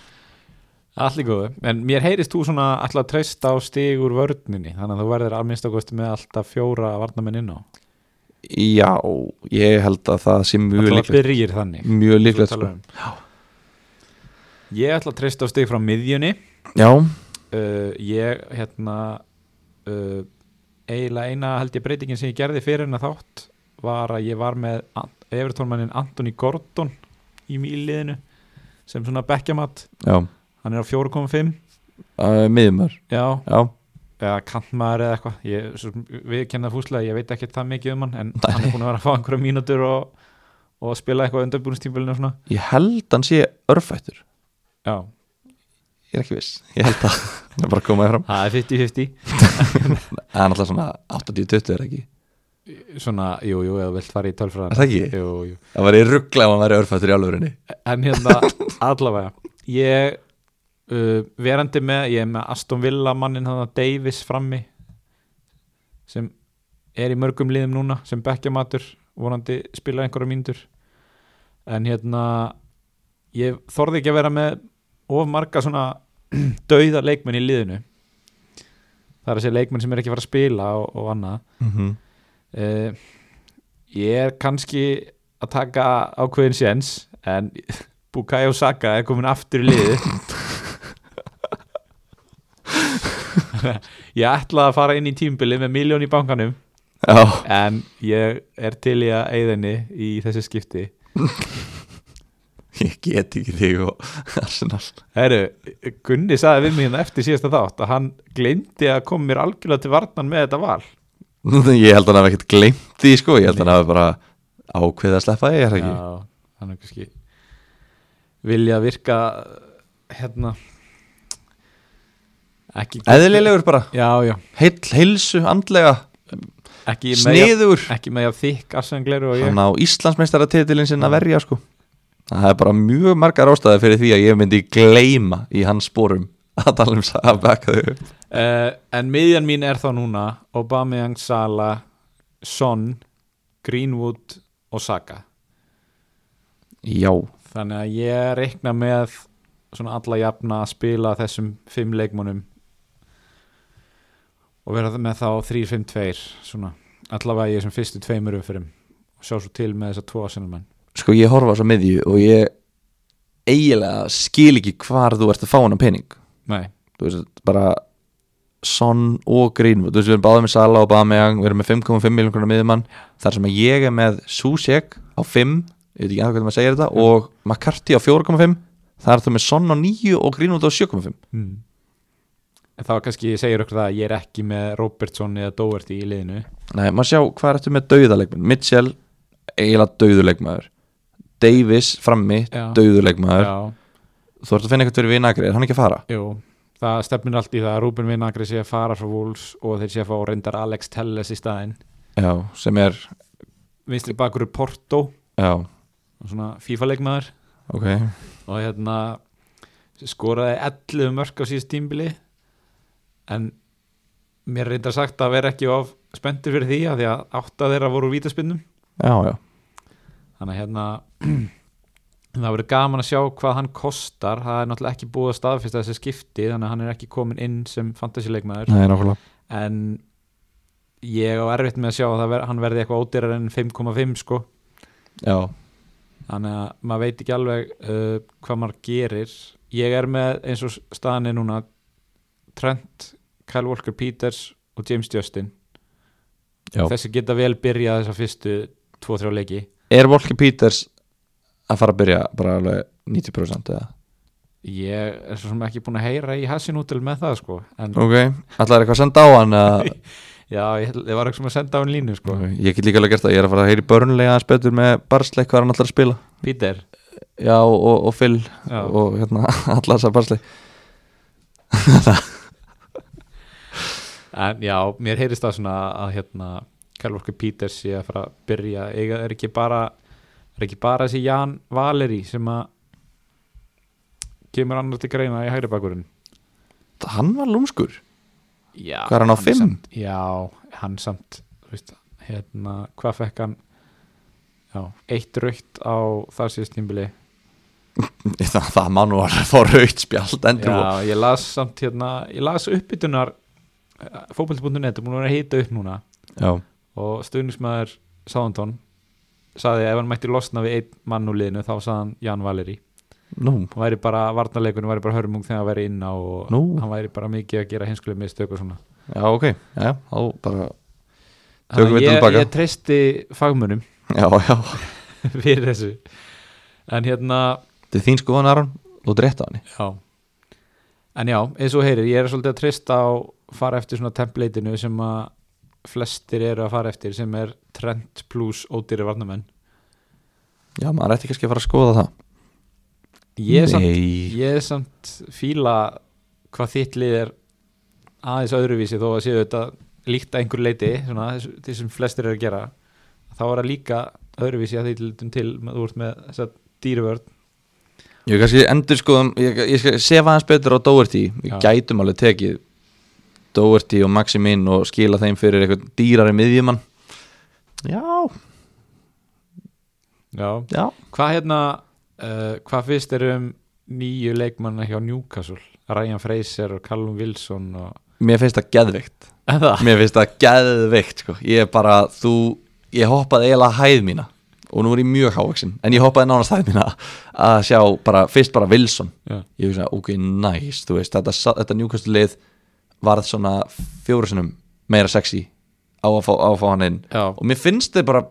S2: Allir góðu, en mér heyrist þú svona alltaf treyst á stig úr vörninni þannig að þú verður alminnstakosti með alltaf fjóra varnamenn inn á
S1: Já, ég held að það sé mjög
S2: Það
S1: líklegt
S2: byrjir þannig
S1: mjög
S2: Þú
S1: líklegt sko.
S2: talar um. Ég ætla að treysta á stig frá miðjunni
S1: Já,
S2: uh, Ég hérna uh, eiginlega eina held ég breytingin sem ég gerði fyrir hennar þátt var að ég var með Ant- Evertónmannin Anthony Gordon í mýliðinu sem svona bekkjamatt
S1: já,
S2: hann er á 4.5
S1: uh, miðumar
S2: Já,
S1: Já,
S2: eða kantmaður eða eitthvað Ég- svo sem við kenna fúslega, ég veit ekki það mikið um hann en hann er búin að vera að fá einhverja mínútur og, og spila eitthvað undanbúinstímbilinu og svona
S1: ég held hann sé örfættur
S2: já,
S1: Ég er ekki viss, ég held að Það er bara að koma þér fram
S2: það er 50-50
S1: Það er alltaf svona 80-20 er ekki
S2: svona, jú, jú, eða þú vilt fara í
S1: Er
S2: tölfræðan
S1: það ekki?
S2: jú, jú.
S1: Það væri ruggla ef hann væri örfættur í alvörinni
S2: en hérna, allavega ég uh, verandi með, ég er með Aston Villa mannin hann Davis frammi sem er í mörgum liðum núna sem bekkjamatur vonandi spila einhverja mínútur en hérna ég þorði ekki að vera með of marga svona dauða leikmenn í liðinu það er að segja leikmenn sem er ekki að fara að spila og, og annað
S1: mm -hmm.
S2: uh, ég er kannski að taka ákveðin séns en Bukayo Saka er komin aftur í liði ég ætlaði að fara inn í tímbili með miljón í bankanum
S1: Já,
S2: en ég er til í að eigðinni í þessi skipti
S1: ég get ekki þig og Arsenal
S2: Heru, Gunni saði við mig hérna eftir síðasta þátt að hann gleymdi að koma mér algjörlega til varnan með þetta val
S1: Nú, Ég held hann hafi ekkert gleymt því sko Ég held hann hafi bara ákveðið að sleppa því, er það ekki?
S2: Já, hann er kannski vilja virka hérna ekki
S1: Eðlilegur bara,
S2: já, já,
S1: heill, heilsu, andlega,
S2: ekki með,
S1: sniður
S2: jafn- ekki með jafn þykk arsengleru og ég
S1: hann á Íslandsmeistaratitilin sinna verja sko það er bara mjög margar ástæði fyrir því að ég myndi gleyma í hans sporum að tala um það að baka þau upp.
S2: uh, en miðjan mín er þá núna Aubameyang, Sala Son, Greenwood og Saka
S1: já,
S2: þannig að ég reikna með svona alla jafna að spila þessum fimm leikmönum og vera með þá 3-5-2 svona allavega ég sem fyrstu tveimur umfyrum og sjá svo til með þess að tvo aðsennarmenn
S1: sko ég horfa svo með því og ég eiginlega skil ekki hvar þú ert að fá hann á pening
S2: nei,
S1: þú veist, bara Son og Greenwood, þú veist, við erum báðið með Sala og Bameyang, við erum með 5,5 miljón kronar miðumann, þar sem að ég er með Susek á 5, ég veit ekki að hvernig maður segir þetta, og McCarthy á 4,5 þar er þú með Son á 9 og Greenwood á 7,5
S2: mm. en þá kannski ég segir okkur það að ég er ekki með Robertson eða Doherty í liðinu
S1: Nei, maður sjá hvað er þetta með dauðalegmenn Mitchell, eiginlega dauðulegmaður Davis, frammi
S2: Já.
S1: dauðulegmaður,
S2: já,
S1: þú ert að finna eitthvað fyrir vinagri, er hann ekki að fara?
S2: jú það stefnir allt í það að Ruben Vinagri sé að fara frá Wolves og þeir sé að fá reyndar Alex Telles í staðinn
S1: Já, sem er,
S2: vinstri bakur er Porto
S1: já,
S2: svona FIFA leikmaður
S1: ok
S2: og hérna skoraði 11 mörk á síðust tímbili en mér er reyndar sagt að vera ekki of spenntur fyrir því að því að átta þeirra voru vítaspinnum
S1: já, já,
S2: þannig að hérna það verður gaman að sjá hvað hann kostar það er náttúrulega ekki búið að staðfesta þessi skipti þannig að hann er ekki komin inn sem fantasyleikmaður
S1: nei, nákvæmlega
S2: en ég á erfitt með að sjá að það ver, hann verði eitthvað ódýrar en 5,5 sko
S1: já,
S2: þannig að maður veit ekki alveg uh, hvað maður gerir ég er með eins og staðan er núna Trent, Kyle Walker Peters og James Justin
S1: Já.
S2: þessi geta vel byrjað þessa fyrstu 2-3 leiki
S1: er Volker Peters að fara að byrja bara alveg 90% eða
S2: ég er svo sem ekki búin að heyra í Hassinútil með það sko en
S1: ok, allar eitthvað að senda á hann að,
S2: já, ég, held- ég var ekki sem að senda á hann línu sko
S1: ég get líka alveg gert það, ég er að fara að heyri börnlega aðeins betur með barsleik hvað hann allar að spila
S2: Peter,
S1: já, og, og Phil
S2: já,
S1: og hérna, allar þessar barsleik
S2: en já mér heyrist það svona að hérna Kyle Walker Peters sé að fara að byrja ég er ekki bara er ekki bara þessi Jan Valeri sem að kemur annar til greina í hægri bakurinn
S1: hann var lúmskur
S2: já,
S1: Hvað er hann á fimm?
S2: samt, já, hann samt þú veist, hérna, hvað fekk hann já, eitt raukt á þar síðast tímbili
S1: það, það má nú alveg fá raut spjald endur og
S2: Já, ég las samt hérna ég las uppbytunar fókbalt.net er búin að vera að hita upp núna
S1: já,
S2: og stuðnismæður Sáðantón saði að ef hann mætti losna við einn mann úr liðinu þá saði hann Jan Valeri
S1: nú,
S2: hann væri bara, varnarleikunum væri bara hörmung þegar hann væri inn á og
S1: Nú.
S2: hann væri bara mikið að gera hinskuleg mistök og svona
S1: já, ok já, þá bara, Tökum
S2: Þannig
S1: við
S2: að
S1: þetta
S2: ég,
S1: tilbaka.
S2: ég treysti fagmönum
S1: já, já
S2: fyrir þessu en hérna
S1: þetta er þín skoðan Aron, þú drétt á hann
S2: Já En já, eins og þú heyrir, ég er svolítið að treysta á fara eftir svona templateinu sem að flestir eru að fara eftir sem er trend plus ódýri varnamenn
S1: já, maður ætti kannski að fara að skoða það
S2: Ég er samt,
S1: Nei.
S2: ég er samt fíla hvað þitt lið er aðeins öðruvísi þó að séu þetta líkt að einhver leiti svona, þessu- því sem flestir eru að gera þá er það líka öðruvísi að þitt litum til þú ert með þess að dýruvörn
S1: Ég kannski endur skoðum, ég, ég skal sefa hans betur á Doherty, við
S2: Já.
S1: gætum alveg tekið Doherty og Maximin og skila þeim fyrir eitthvað dýrari miðjumann Já,
S2: Já,
S1: já
S2: Hvað hérna, uh, hvað finnst þér um nýju leikmanna hjá Newcastle? Ryan Fraser og Callum Wilson og...
S1: Mér finnst það geðveikt
S2: Það?
S1: Mér finnst það geðveikt, sko Ég er bara, þú, ég hoppaði eiginlega hæð mína og nú er ég mjög hávaksin en ég hoppaði nánast hæð mína að sjá bara, fyrst bara Wilson
S2: Já,
S1: ég hugsa, ok, nice, þú veist þetta, sa- þetta Newcastle lið varð svona fjóru sinum meira sexy á að fá, á að fá hann inn
S2: já,
S1: og mér finnst þetta bara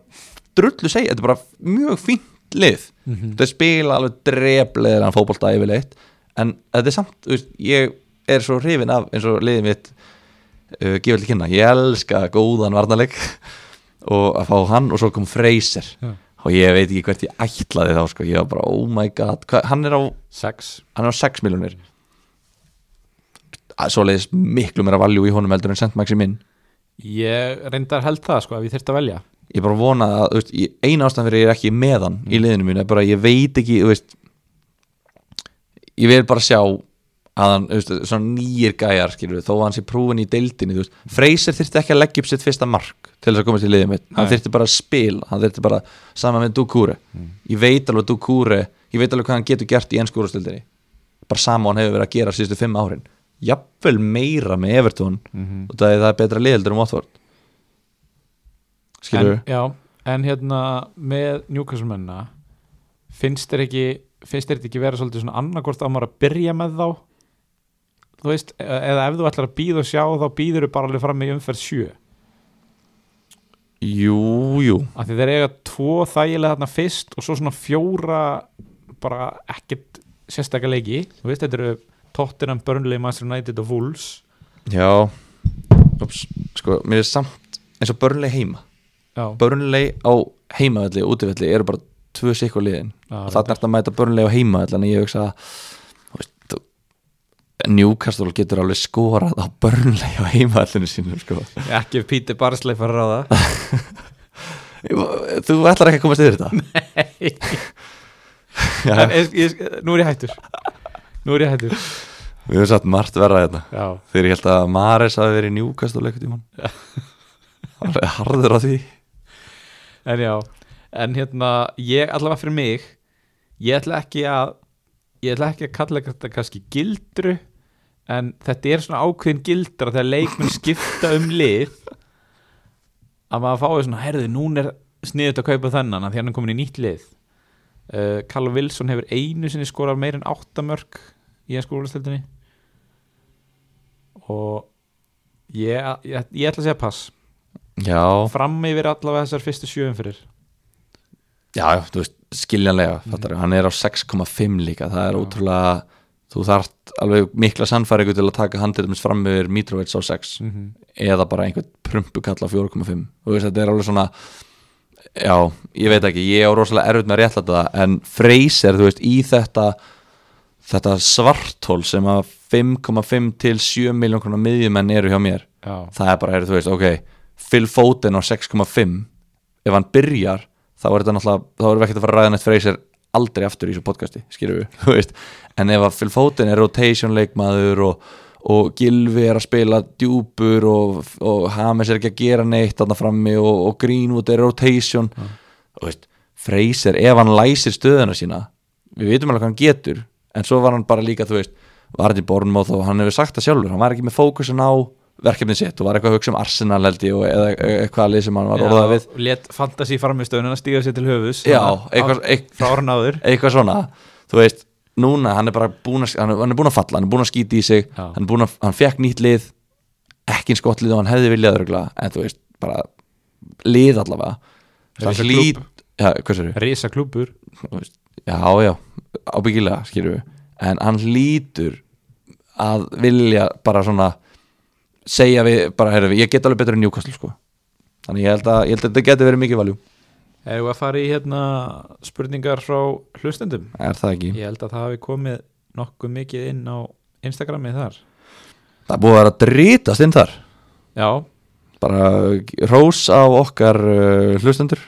S1: drullu segja, þetta er bara mjög fínt lið mm
S2: Mhm.
S1: -hmm. þetta spila alveg drefleðan fótbolta yfirleitt en þetta er samt, þú veist, ég er svo hrifin af eins og liðið mitt uh, gefið til kynna, ég elska góðan varnarleik og að fá hann og svo kom Freyser
S2: Já.
S1: og ég veit ekki hvert ég ætlaði þá sko, ég var bara, oh my god hva, hann er á
S2: sex.
S1: hann er á 6 miljonir svo leiðis miklu meira valjú í honum heldur en sent maxi minn
S2: Ég reyndar held það sko, ef ég þyrfti að velja.
S1: ég bara vona að, þú veist, ég- eina ástæðan fyrir ég er ekki með hann
S2: Mm.
S1: í liðinu mínu, er bara að ég veit ekki, þú veist ég vil bara sjá að hann, þú veist, svona nýjir gæjar skilur við, þó að hann sé prúin í deildinni, þú veist
S2: Mm.
S1: Freyser þyrfti ekki að leggja upp sitt fyrsta mark til þess að komast í liðið mitt, hann
S2: Nei. Mm.
S1: þyrfti bara að spila hann þyrfti bara saman með Dukure ég veit alveg Dukure, ég veit alveg hvað hann getur gert í ennskúrastildinni bara sama og hann hefur verið að gera síðustu fimm árin jafnvel meira með Everton mm -hmm. og það er betra liðildur um Watford skilur
S2: En, já, en hérna með Newcastle menna, finnst þér ekki, finnst þér þetta ekki vera svolítið svona annarkort að maður að byrja með þá? Þú veist, e- eða ef þú ætlar að býða og sjá þá býður þú bara alveg fram í umferð sjö.
S1: Jú, jú
S2: af því þeir eiga tvo þægilega þarna fyrst og svo svona fjóra bara ekkert sérstaklega leiki þú veist þetta eru Tottenham, Burnley, Manchester United og Wolves
S1: Já Ups. Sko, mér er samt eins og börnleg heima
S2: já,
S1: Börnleg á heimavelli og útivelli eru bara tvö sikkur liðin
S2: Já,
S1: og það er þetta að mæta börnleg á heimavelli en ég hugsa að þú veist, þú- Newcastle getur alveg skorað á börnleg á heimavellinu sínum sko.
S2: ekki ef Peter Barsley fara að ráða
S1: Þú ætlar ekki að komast yfir þetta
S2: en,
S1: Já,
S2: ég, ég, nú er ég hættur nú er ég hættur
S1: Við höfum satt margt verra þetta
S2: já,
S1: Þegar ég held að Maris hafi verið í Newcastle eitthvað tímann Það var harður á því
S2: en já en hérna, ég allavega fyrir mig ég ætla ekki að ég ætla ekki að kalla þetta kannski gildru en þetta er svona ákveðin gildra þegar leikmenn skipta um lið að maður fái svona, herði, núna er sniðut að kaupa þennan að því hann er komin í nýtt lið uh, Callum Wilson hefur einu sinni skorað meir en áttamörk í ennsku úrlastöldinni og ég, ég, ég ætla að segja pass
S1: já,
S2: fram yfir allavega þessar fyrstu sjöum fyrir
S1: já, já, þú veist, skiljanlega mm. hann er á 6,5 líka, það er
S2: Já.
S1: ótrúlega þú þarft alveg mikla sannfæringu til að taka hann til dæmis fram yfir Mitrovic á 6
S2: mm -hmm.
S1: eða bara einhvern prumpukall á 4,5 þú veist, þetta er alveg svona já, ég veit ekki, ég er rosalega erfitt með að réttlæta það en Freyser, þú veist, í þetta þetta svartól sem að 5,5 til 7 miljón kronar miðjumenn eru hjá mér
S2: Já,
S1: það er bara, heyrðu, þú veist, ok Phil Foden á 6,5 ef hann byrjar, þá er þetta náttúrulega þá erum við ekkert að fara að ræða nætt Freyser aldrei aftur í þessu podcasti, skýrðu við, þú veist en ef að Phil Foden er rotation leikmaður og, og Gilvi er að spila djúpur og, og Hames er ekki að gera neitt þarna frammi og, og Greenwood er rotation þú veist, Freyser ef hann læsir stöðuna sína við vitum alveg hvað hann getur en svo var hann bara líka, þú veist, var þetta í Bornmóð og hann hefur sagt það sjálfur, hann var ekki með fókusin á verkefnið sitt og var eitthvað að hugsa um Arsenal held ég og eða eitthvað lið sem hann var orðað við
S2: Let fantasy farmistöðunina stíga sér til höfus
S1: Já,
S2: svona,
S1: eitthvað-
S2: á-
S1: eitth-
S2: Frá orðin áður
S1: eitthvað svona, þú veist núna hann er bara búin að, hann er, hann er búin að falla hann er búin að skýti í sig,
S2: Já.
S1: hann, er búin að, hann fekk nýtt lið ekki eins gott lið og hann hefði viljað örgla, en þú veist, bara lið allavega
S2: Risa
S1: Hann
S2: klúbb.
S1: lít- Já, hvað sér
S2: Rísa klúbur
S1: þú veist, já, já, ábyggilega skilur við, en hann lítur að vilja bara svona segja við, bara heyrðu við, ég get alveg betur en Newcastle sko þannig ég held að, ég held að þetta geti verið mikið valjú
S2: Hefur að fara í hérna spurningar frá hlustendum
S1: er það ekki,
S2: Ég held að það hafi komið nokkuð mikið inn á Instagramið þar
S1: það er búið að vera að drítast inn þar,
S2: Já,
S1: bara uh, hrós á okkar uh, hlustendur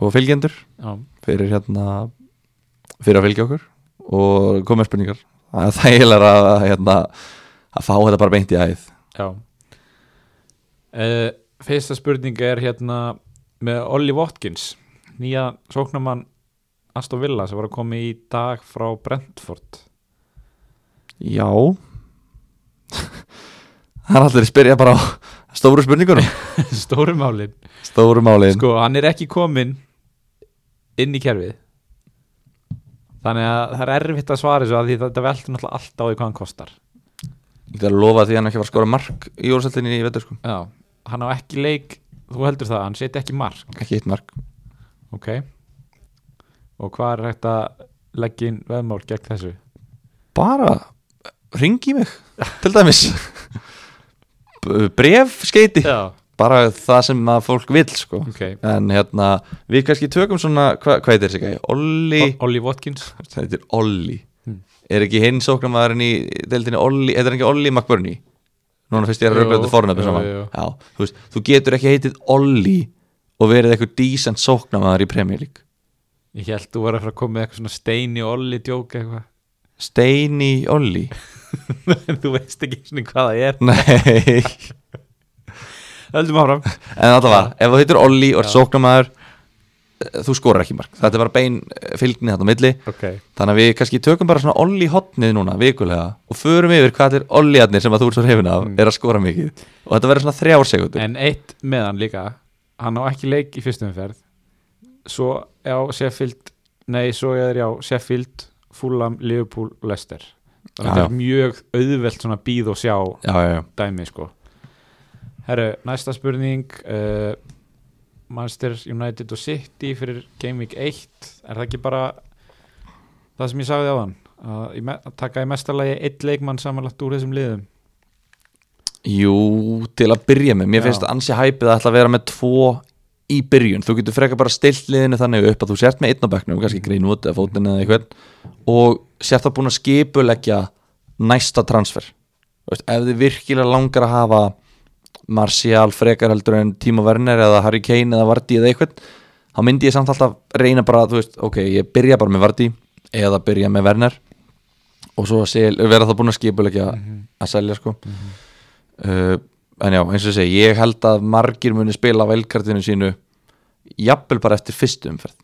S1: og fylgjendur
S2: já,
S1: fyrir hérna fyrir að fylgja okkur og koma með spurningar það er þægilega að hérna að fá þetta bara beint í æð
S2: já. Uh, Fyrsta spurning er hérna með Olli Watkins nýja sóknamann Aston Villa sem var að koma í dag frá Brentford
S1: Já Það er allir að spyrja bara á stóru spurningunum
S2: Stórumálin
S1: Stóru málin
S2: Sko, hann er ekki kominn inn í kerfið Þannig að það er erfitt að svara þessu að því þetta veltur náttúrulega allt á því hvað hann kostar
S1: Ég ætla að lofa því að hann ekki var að skora mark í úrsættinni í vetur sko
S2: Já, hann á ekki leik þú heldur það, hann seti ekki mark
S1: Ekki eitt mark
S2: Ok Og hvað er hægt að leggja inn veðmál gegn þessu?
S1: Bara ringi mig til dæmis Bref skeiti
S2: Já,
S1: Bara það sem að fólk vill sko
S2: ok
S1: En hérna, við kannski tökum svona hva, Hvað heitir þessi gæði? Olli
S2: O- Ollie Watkins
S1: Þetta heitir Olli
S2: Hmm.
S1: Er ekki hinn sóknarmaðurinn í deildinni Olli Þetta er ekki Olli McBurney Núna fyrst ég er að
S2: Jú,
S1: röglega þetta fornafni
S2: jú,
S1: saman
S2: jú.
S1: Já, þú, veist, þú getur ekki heitið Olli og verið eitthvað decent sóknarmaður í Premier League
S2: Ég held þú var að fara að koma með eitthvað svona steini Olli djók eitthvað
S1: Steini Olli
S2: Þú veist ekki svona hvað það er
S1: Nei,
S2: Höldum áfram
S1: en allavega Ef þú heitir Olli og er
S2: Já.
S1: sóknarmaður eh, þú skorar ekki mark, þetta er bara bein eh, fylgni þetta á milli,
S2: Ok
S1: þannig að við kannski tökum bara svona Olli hotnið núna, vikulega og förum yfir hvað þetta er Olliarnir sem að þú ert svo hefina af,
S2: Mm.
S1: er að skora mikið og þetta verður svona þrjár segundur
S2: En eitt með hann líka Hann á ekki leik í fyrstum umferð Svo á Sheffield Nei, svo er ég á Sheffield Fulham, Liverpool, Leicester Þannig að
S1: Já,
S2: þetta er mjög auðvelt svona býð og sjá
S1: Já, já, já
S2: dæmi sko Herru, næsta spurning uh, Manchester United og City fyrir Game Week 1 Er það ekki bara það sem ég sagði á þann að í me- að taka í mestalagi eitt leikmann samanlagt úr þessum liðum
S1: Jú, til að byrja með, mér
S2: Já.
S1: finnst ansi hæpið að ætla að vera með tvo í byrjun, þú getur frekar bara stilt liðinu þannig upp að þú sért með einn á bekknum, kannski Greenwood eða fótinn eða eitthvað og sért það búin að skipuleggja næsta transfer Þú veist, ef þið virkilega langar að hafa Martial frekar heldur en Timo Werner eða Harry Kane eða Vardy eða eitthvað þá myndi ég samt alltaf reyna bara þú veist, ok, ég byrja bara með Vardy eða byrja með Werner og svo sel, vera það búin að skipuleggja að selja sko uh, en já, eins og ég segi, ég held að margir muni spila velkartinu sínu jafnvel bara eftir fyrstu umferð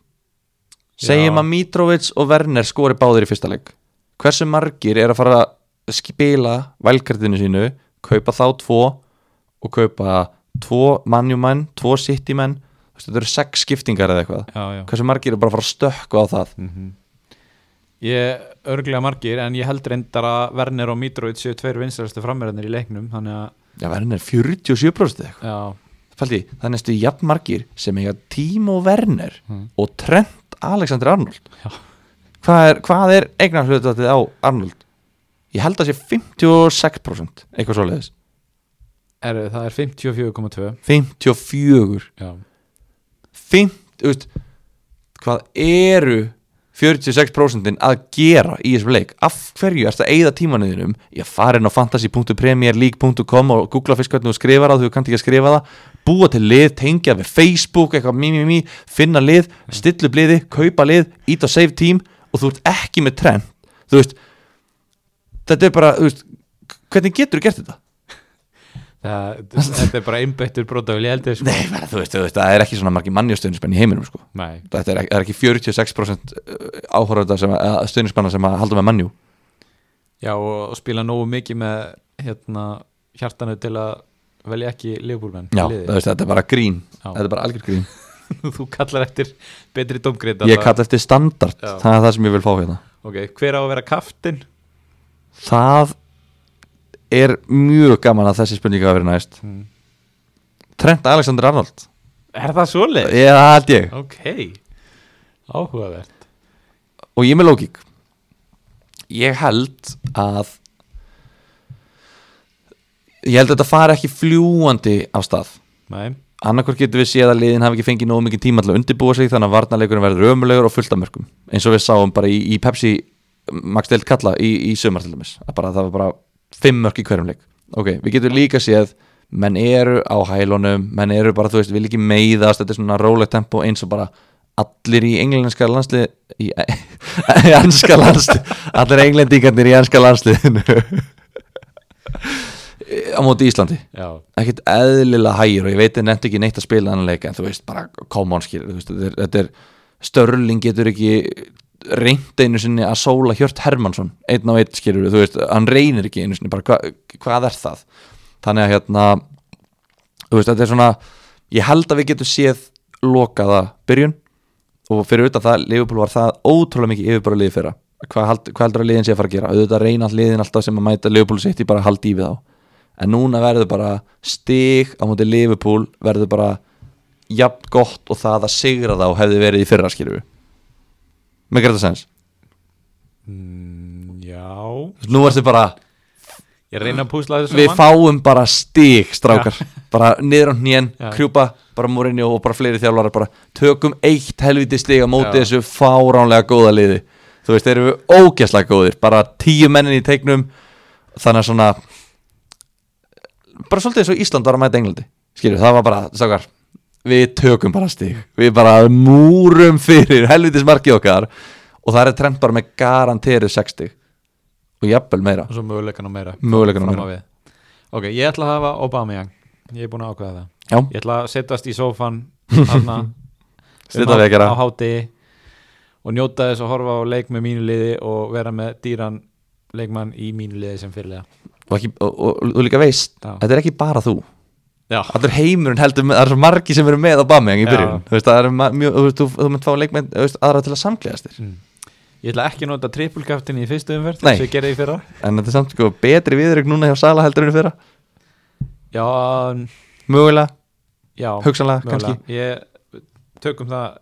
S1: segjum
S2: Já.
S1: að Mitrovic og Werner skori báðir í fyrsta leik hversu margir er að fara að spila vælkartinu sínu kaupa þá tvo og kaupa tvo mannjumenn, tvo sittimenn Þú veist, þetta eru sex skiptingar eða eitthvað
S2: já, já.
S1: hversu margir er bara að fara að stökka á það
S2: Mhm. Ég örglega margir en ég held reyndar að Werner og Mitrovic séu tveir vinstarastu framverðinir í leiknum þannig að
S1: já, Werner 47% eða eitthvað
S2: já,
S1: Faldi, það er næstu jafn margir sem eiga Timo Werner
S2: Mm.
S1: og Trent Alexander Arnold
S2: Já.
S1: hvað er, hvað er eignar hlutatið á Arnold? Ég held að sé 56% eitthvað svoleiðis
S2: er, það er 54,2
S1: 54
S2: já.
S1: 50, þú veist, hvað eru 46% að gera í þessum leik af hverju ertu að eyða tímanuðinum ég farin á fantasy.premierleague.com og googla fyrst hvernig þú skrifar það þú kannt ekki að skrifa það, búa til lið tengja við Facebook, eitthvað mí, mí, mí finna lið, stilla upp liði, kaupa lið ít og save team og þú ert ekki með trend, þú veist þetta er bara, þú veist hvernig getur þú gert þetta?
S2: Það, þetta er bara einbættur brótafél ég held ég sko
S1: Nei, bara, þú veist, þú veist, það er ekki svona margir mannjóstöðnismenn í heiminum sko
S2: Nei.
S1: þetta er, ekki- það er ekki 46% áhorfða uh, sem að stöðnismanna sem að halda með mannjú
S2: Já og, og spila nógu mikið með hérna, hjartanu til að velja ekki liðbúlmenn
S1: já, það veist, þetta er bara grín
S2: Já.
S1: þetta er bara algjör grín
S2: Þú kallar eftir betri domgrið
S1: ég kalla eftir standard,
S2: Já.
S1: það er það sem ég vil fá hérna
S2: okay. Hver á að vera kaftin?
S1: það er mjög gaman að þessi spurninga að vera næst
S2: Mm.
S1: Trent Alexander Arnold
S2: Er það svoleið?
S1: ég, það held ég,
S2: Ok Áhugavert
S1: og ég er með lógík ég held að ég held að þetta fari ekki fljúandi af stað
S2: Nei.
S1: annarkvort getur við séð að liðin hafi ekki fengið nógu mikið tíma til að undirbúa sig þannig að varnarleikurinn verður ömulegur og fullt af mörgum eins og við sáum bara í, í Pepsi Max Delt Kalla í, í sömar til dæmis að bara, það var bara fimm mörg í hverjum leik ok, við getum líka séð menn eru á hælunum, menn eru bara þú veist, vil ekki meiðast, þetta er svona rólegt tempo eins og bara allir í englenska landslið í, í anska landslið allir englendingarnir í anska landsliðinu á móti Íslandi
S2: Já,
S1: ekkert eðlilega hægir og ég veit að nefnt ekki neitt að spila annan leik en þú veist bara come on skil þetta er, þetta er Störling getur ekki reynd einu sinni að sóla Hjört Hermansson einn á einn skilur þú veist, hann reynir ekki einu sinni bara hva, hvað er það þannig að hérna þú veist, þetta er svona ég held að við getum séð lokaða byrjun og fyrir utan það, Liverpool var það ótrúlega mikið yfirbara liðið fyrra hvað, hald, hvað heldur að liðin sé að fara að gera auðvitað reyna all liðin alltaf sem að mæta Liverpool sitt í bara að halda í við á en núna verður bara stig á móti Liverpool verður bara jafn gott og það að sigra þá hefði verið í fyrra skilju með gerða sens
S2: mm, já.
S1: nú ertu bara,
S2: Ég reyna að púsla þessu
S1: við fáum bara stig strákar, bara niður á hnén
S2: Já.
S1: krjúpa, bara múrinni og bara fleiri þjálfarar bara tökum eitt helviti stig á móti
S2: Já.
S1: þessu fáránlega góða liði þú veist, þeir eru ógæslega góðir bara tíu mennin í teiknum þannig að svona bara svolítið eins og Ísland var að mæta Englandi skilju, það var bara, strákar við tökum bara stig, við bara múrum fyrir helvitis markið okkar og það er trend bara með garanterið 60 og jafnvel meira
S2: Og svo möguleikan og meira
S1: möguleikunum
S2: Fram á
S1: Mm, meira
S2: við. Ok, ég ætla að hafa Aubameyang Ég er búin að ákveða það
S1: Já.
S2: Ég ætla að setjast í sófan Hanna
S1: Stilla vekjara.
S2: Á háti Og njóta þess að horfa á leik með mínu liði Og vera með dýran leikmann í mínu liði sem fyrirlega
S1: og, ekki, og, og, og líka veist,
S2: Já.
S1: þetta er ekki bara þú
S2: Já,
S1: allir heimurinn heldur, með, það er svo margi sem eru með á Bameyang í
S2: Já.
S1: byrjun, þú veist, það er ma- mjög þú, veist, þú, þú mynd fá leikmenn, þú veist, aðra til að samklæðast þér
S2: Mm. ég ætla ekki að nota trippulkaftin í fyrstu umferð
S1: Nei.
S2: Þess að ég gerði í fyrra
S1: en þetta er samt sko betri viðrögn núna hjá Sala heldur en í fyrra,
S2: Já, um,
S1: mögulega
S2: já
S1: Hugsanlega,
S2: mögulega. Ég tökum það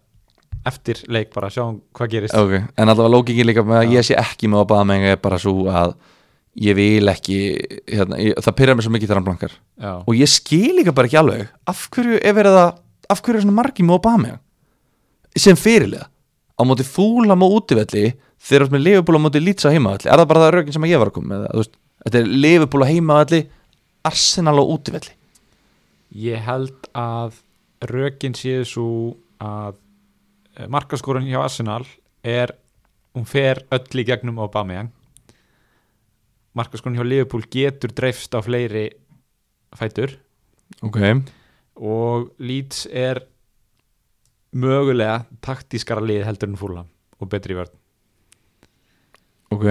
S2: eftir leik bara Sjáum hvað gerist
S1: Ok, en allavega lókingin líka með að ég sé ekki með Aubameyang er bara svo að ég vil ekki, hérna, ég, það pyrra mér svo mikið þegar hann blankar
S2: Já.
S1: og ég skil líka bara ekki alveg af hverju er verið að af hverju er svona margi með Aubameyang sem fyrirlega á móti fúlam og útivelli þegar þú ert með Liverpool á móti Leeds á heimavalli er það bara það rökin sem ég var að koma með þú veist, þetta er Liverpool á heimavalli Arsenal á útivelli
S2: Ég held að rökin séu svo að eh, markaskorun hjá Arsenal er, hún fer öll í gegnum Aubameyang markaskorun hjá Liverpool getur dreifst á fleiri fætur
S1: ok,
S2: og Leeds er mögulega taktískara lið heldur en fúlam og betri vörn
S1: ok,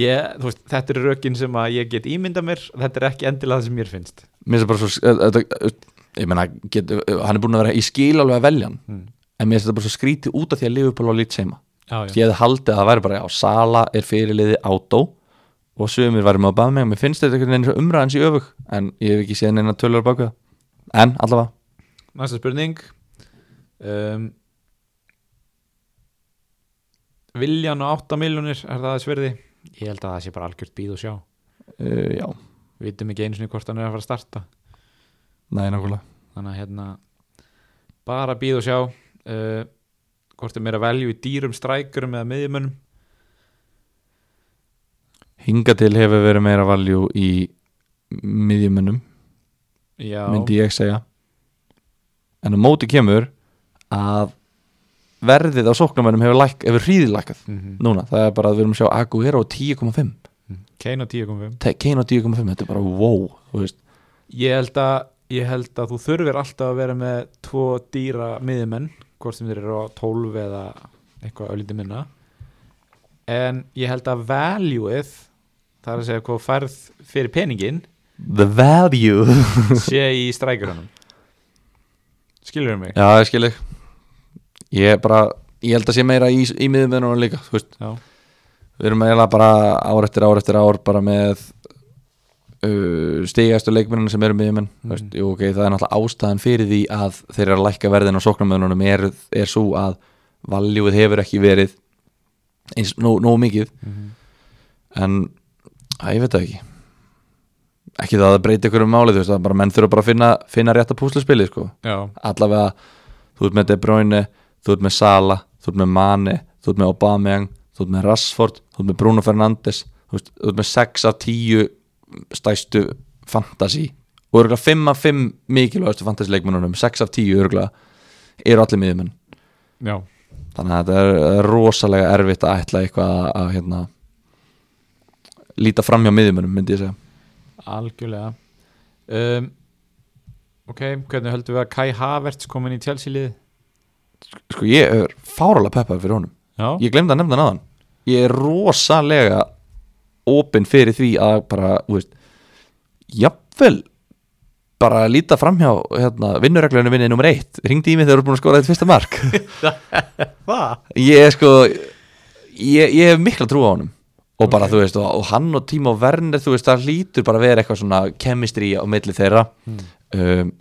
S2: ég, þú veist, þetta er rökin sem að ég get ímynda mér þetta er ekki endilega það sem mér finnst
S1: mér finnst það bara svo eh, þetta- eh, ég meina, get, eh, hann er búin að vera ég skil alveg að velja hann,
S2: Mm.
S1: en mér finnst þetta bara svo skrítið út af því að Liverpool á lít seima
S2: já,
S1: ég hefði haldið að það væri bara á Sala er fyrirliði átó og sögumir væri með að baða mig og mér finnst þetta einhvern veginn umræðans í öfug en ég hef ekki séð neina tölur baku það en allavega,
S2: Næsta spurning um, Viljan og 8 miljónir er það að sverði? Ég held að það sé bara algjört býð og sjá
S1: uh, já,
S2: Við vitum ekki einu sinni hvort hann er að fara að starta
S1: næ, nákvæmlega
S2: Þannig að hérna bara býð og sjá uh, hvort er meira velju í dýrum strækurum eða miðjumunum
S1: hinga til hefur verið meira valjú í miðjumunum,
S2: Já,
S1: myndi ég segja en á móti kemur að verðið á sóknarmennum hefur, læk, hefur hríðilækkað
S2: Mhm.
S1: núna, það er bara að við erum að sjá Aguero á 10,5
S2: Kane og 10.5
S1: Te- Kane á 10,5, þetta er bara wow þú veist,
S2: Ég held að, ég held að þú þurfir alltaf að vera með tvo dýra miðjumenn, hvort sem þeir eru á 12 eða eitthvað öllítið minna en ég held að valueið það er að segja hvað þú færð fyrir peningin
S1: the value
S2: sé í strækjurunum skilur mig?
S1: Já, ég skil þig Ég er bara, ég held að sé meira í, í miðum við núna líka, þú veist
S2: Já.
S1: Við erum eiginlega bara ár eftir ár eftir ár bara með uh, stigastu leikmennina sem eru miðjumenn mm. veist, jú, ok, það er náttúrulega ástæðan fyrir því að þeir eru að lækka verðin á sóknarmöðunum er, er svo að valjúið hefur ekki verið eins nóg, nóg mikið
S2: Mhm.
S1: en, að ég veit það ekki ekki það að það breyti ykkur um málið, þú veist, það er bara menn þurfa bara að finna, finna rétta púsluspilið, sko
S2: Já,
S1: allavega þú ert með De Bruyne, þú ert með Sala þú ert með Mane, þú ert með Aubameyang þú ert með Rashford, þú ert með Bruno Fernandes þú veist, þú ert með 6 af 10 stæstu fantasy og örgulega 5 af 5 mikilvægastu fantasy leikmennunum, 6 af 10 örgulega eru allir miðjumenn
S2: já,
S1: þannig að þetta er- er rosalega erfitt að ætla eitthvað að, að hérna líta fram hjá miðjumennum myndi ég segja
S2: algjörlega um, Ok, hvernig höldum við að Kai Havertz komin í Chelsea liði?
S1: sko ég er fáralega peppað fyrir honum
S2: Já,
S1: ég glemd að nefna hann áðan. ég er rosalega opinn fyrir því að bara þú veist, jafnvel bara líta framhjá hérna, vinnureglunum vinni nummer eitt ringdi í mig þegar þú eru búin að skora þitt fyrsta mark
S2: það?
S1: ég er sko ég, ég hef mikla trú á honum og bara þú veist og, og hann og Tímo Werner þú veist það lítur bara að vera eitthvað svona kemistri á milli þeirra
S2: Hmm.
S1: um,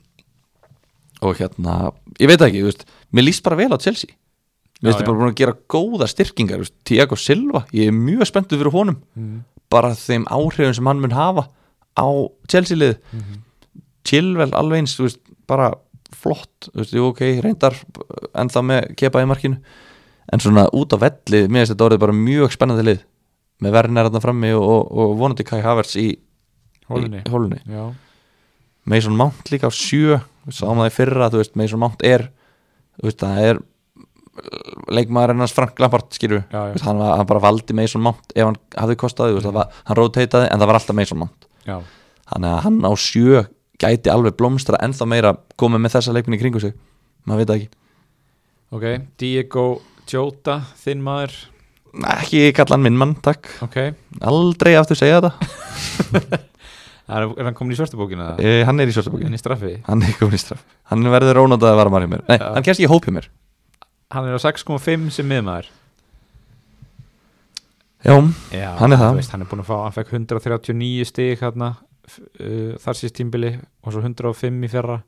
S1: og hérna ég veit það ekki, þú veist, mér líst bara vel á Chelsea mér finnst
S2: Já,
S1: það bara búin að gera góða styrkingar, þú veist, Tiago Silva ég er mjög spenntur fyrir honum
S2: Mm,
S1: bara þeim áhrifum sem hann mun hafa á Chelsea-lið mm Chilwell alveg eins, þú veist, bara flott, þú veist, jú ok, reyndar eh, ennþá með kepa í markinu en svona út á velli, mér finnst þetta orðið bara mjög spennandi lið með verðin er þarna frammi og, og, og vonandi Kai Havertz í
S2: Hólunni
S1: í hólunni.
S2: Já,
S1: Mason Mount líka á sjö sáum það í fyrra, þú veist, Mason Mount er þú veist, það er uh, leikmaður ennast Frank Lampard, skilju
S2: já, já,
S1: hann, var, hann bara valdi Mason Mount ef hann hafði kostaði, þú veist, það var, hann rotateaði en það var alltaf Mason Mount,
S2: já.
S1: þannig að hann á sjö gæti alveg blómstra ennþá meira komið með þessa leikminni kringu sig maður veit það ekki,
S2: Ok, Diego Jota, þinn maður
S1: Nei, ekki kalla hann minn mann, takk
S2: Ok,
S1: aldrei aftur segja þetta,
S2: er, er hann komin í svörtubókina?
S1: e, hann er í svörstabókin
S2: Hann í straffi?
S1: hann er komin í straf, hann verður ónótað að vara maður hjá mér, nei,
S2: Já.
S1: hann kemst ekki í hóp hjá mér
S2: Hann er á 6,5 sem miðmaður
S1: já,
S2: Já,
S1: Hann er það.
S2: þú veist, Hann er búin að fá, hann fekk 139 stig hérna f- uh, þar síðst tímbili og svo 105 í fyrra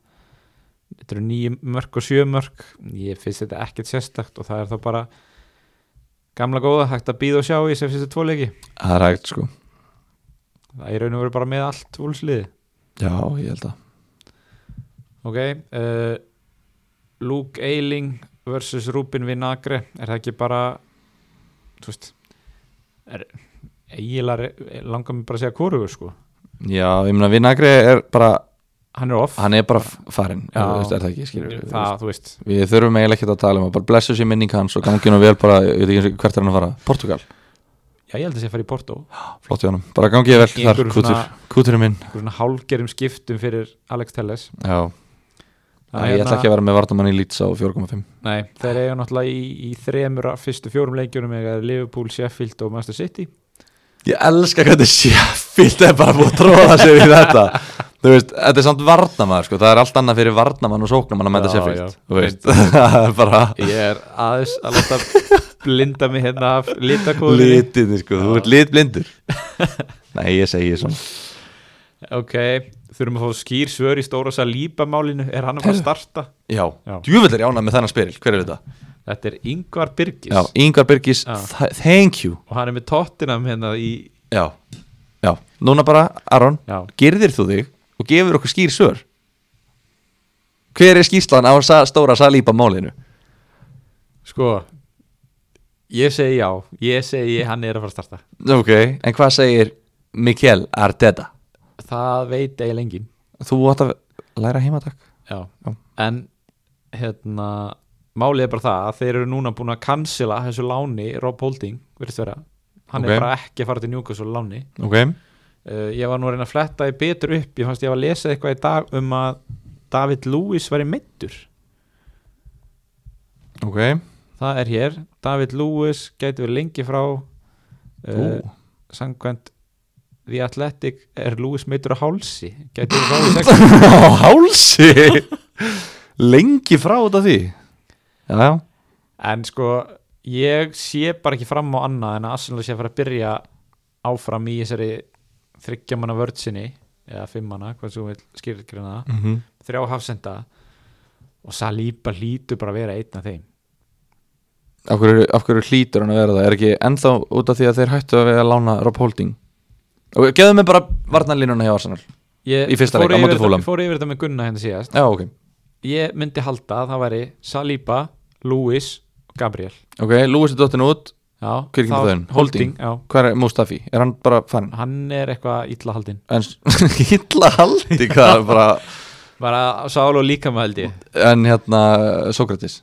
S2: Þetta eru 9 mörg og 7 mörg Ég finnst þetta ekkert sérstakt og það er þá bara gamla góða, hægt að býða og sjá í sem finnst þetta tvoleiki
S1: það er hægt sko
S2: Það er raun og veru bara með allt úlsliði
S1: já, ég held að
S2: Ok, uh, Luke Eiling versus Rúbin Vinagre, er það ekki bara, þú veist, er eiginlega, re- langar mér bara að segja kórugur sko,
S1: já, ég meina Vinagri er bara
S2: hann er off,
S1: hann er bara f- farinn,
S2: Já.
S1: þú veist, er það ekki skilur,
S2: það, þú veist,
S1: Við þurfum eiginlega ekkert að tala um það, bara blessu sér minning hans og gangi hann vel bara, ég veit ekki eins og hvert er hann að fara Portugal,
S2: já ég held að sé að fara í Porto,
S1: flott hjá hann, bara gangi ég vel
S2: Í
S1: þar,
S2: einhverju
S1: kútur,
S2: svona-
S1: kúturinn minn
S2: einhver svona hálgerum skiptum fyrir Alex Telles,
S1: Já, Æ, ég
S2: hérna-
S1: ætla ekki að vera með vardamann í Leeds á 4,5
S2: Nei, þeir eiga náttúrulega í, í þremur af fyrstu fjórum leikjunum eða Liverpool, Sheffield og Manchester City
S1: Ég elska hvernig Sheffield er bara búið að tróða sér í þetta Þú veist, þetta er samt varnamaður sko. það er allt annað fyrir varnamann og sóknamann að mæta
S2: Já, já.
S1: Sheffield Þú veist, það er bara
S2: Ég er aðeins að láta blinda mig hérna af litakóðinni
S1: litinni sko, þú ert litblindur Nei, ég segi svona
S2: Ok, þurfum að fá skýr svör í stóra sal líbamálinu, er hann að fara að starta?
S1: Já,
S2: Já.
S1: djúvill er jánað með þennan spyril, hver er þetta?
S2: Þetta er Ingvar Birgis
S1: Já, Yngvar Birgis,
S2: Já.
S1: þa- thank you
S2: og hann er með tóttinam hérna í
S1: Já, já, núna bara Aron,
S2: Já,
S1: gerðir þú þig og gefur okkur skýr svör Hver er skýrslan á sa, stóra salípa málinu?
S2: sko Ég segi já, ég segi hann er að fara að starta
S1: Ok, en hvað segir Mikkel Arteta?
S2: Það veit eiginlega enginn
S1: Þú átt að læra heimatak
S2: já.
S1: Já.
S2: en hérna málið er bara það að þeir eru núna búin að cancela þessu láni Rob Holding virðist vera hann
S1: Ok.
S2: er bara ekki að fara til Newcastle á láni
S1: Ok,
S2: uh, ég var nú að reyna að fletta því betur upp ég fannst ég var að lesa eitthvað í dag um að David Lewis væri meittur
S1: ok
S2: það er hér, David Lewis gæti verið lengi frá uh, sangvænt The Athletic er Lewis meittur á hálsi gæti verið frá í sex
S1: Á hálsi Lengi frá þetta því Já, já
S2: En sko, ég sé bara ekki fram á annað en að Arsenal sé að fara að byrja áfram í þessari þryggjamanna vörðsinni eða fimmana, hvað sem þú vil skýrgrina það,
S1: -hmm.
S2: þrjá hafsenda og Saliba hlýtur bara að vera einn af þeim.
S1: af, hverju, af hverju hlýtur hann að vera það? Er ekki ennþá út af því að þeir hættu að vera að lána Rob Holding? Og geðu mig bara varnarlínuna hjá Arsenal
S2: Ég
S1: Í fyrsta
S2: fór
S1: leik, á
S2: yfir
S1: móti
S2: þetta-
S1: Fulham.
S2: Fór yfir þetta með Gunna hérna síðast.
S1: Já, ok
S2: Ég myndi halda að það væri Saliba, Lewis og Gabriel.
S1: Ok, Lewis er dottin út
S2: Já,
S1: Hver er ekki
S2: þá-
S1: með þeim?
S2: Holding, já.
S1: Hvað er Mustafi? Er hann bara fann?
S2: Hann er eitthvað illa haldinn.
S1: En illa haldi hvað er bara
S2: Bara sál og líka með held ég.
S1: En hérna, Sókratis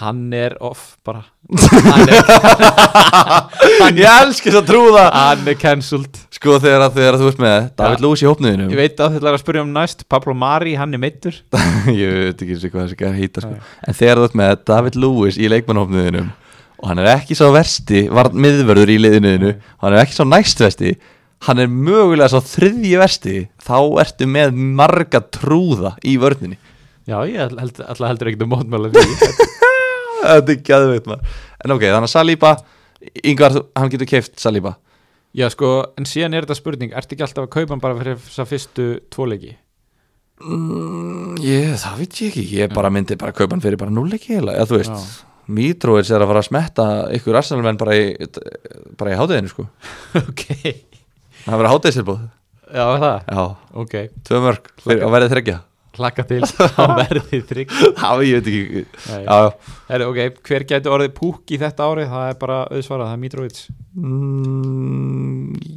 S2: Hann er off bara. Hann er
S1: Ég elski þess að trú það
S2: hann er cancelled
S1: Sko þegar, að- þegar þú ert með David
S2: Ja.
S1: Lewis í hópnuðinu
S2: ég veit að þetta er að spyrja um næst Pablo Mari, hann er meittur
S1: ég veit ekki eins og hvað þessi gæði heita sko. en þegar þú ert með David Lewis í leikmannhófnuðinum og hann er ekki sá versti var miðverður í liðinuðinu og hann er ekki sá næst versti hann er mögulega sá þriðji versti þá ertu með marga trúða í vörninni
S2: já, ég held, held- alltaf heldur ekkert um mótmála því
S1: þetta er ekki aðveit maður en ok, þannig að Saliba yngvar, hann getur keift Saliba
S2: já, sko, en síðan er þetta spurning ertu ekki alltaf að kaupa hann bara fyrir þessa fyrstu tvoleiki
S1: mm, ég, það veit ég ekki ég bara myndi bara kaupa hann fyrir bara núleiki eða þú veist,
S2: Já.
S1: Mitrovic er að fara að smetta ykkur arsenalmenn bara í, bara í háteginu sko
S2: ok,
S1: Það verður hátegistilbúð
S2: já, var það
S1: Já,
S2: ok,
S1: tvö mörg fyrir, og verðið þryggja
S2: hlakka til hann verði trygg
S1: Já, ég veit ekki
S2: Nei.
S1: Já,
S2: Heru, ok, hver getur orðið púk í þetta árið það er bara auðsvarað, það er Mitrovic
S1: mm,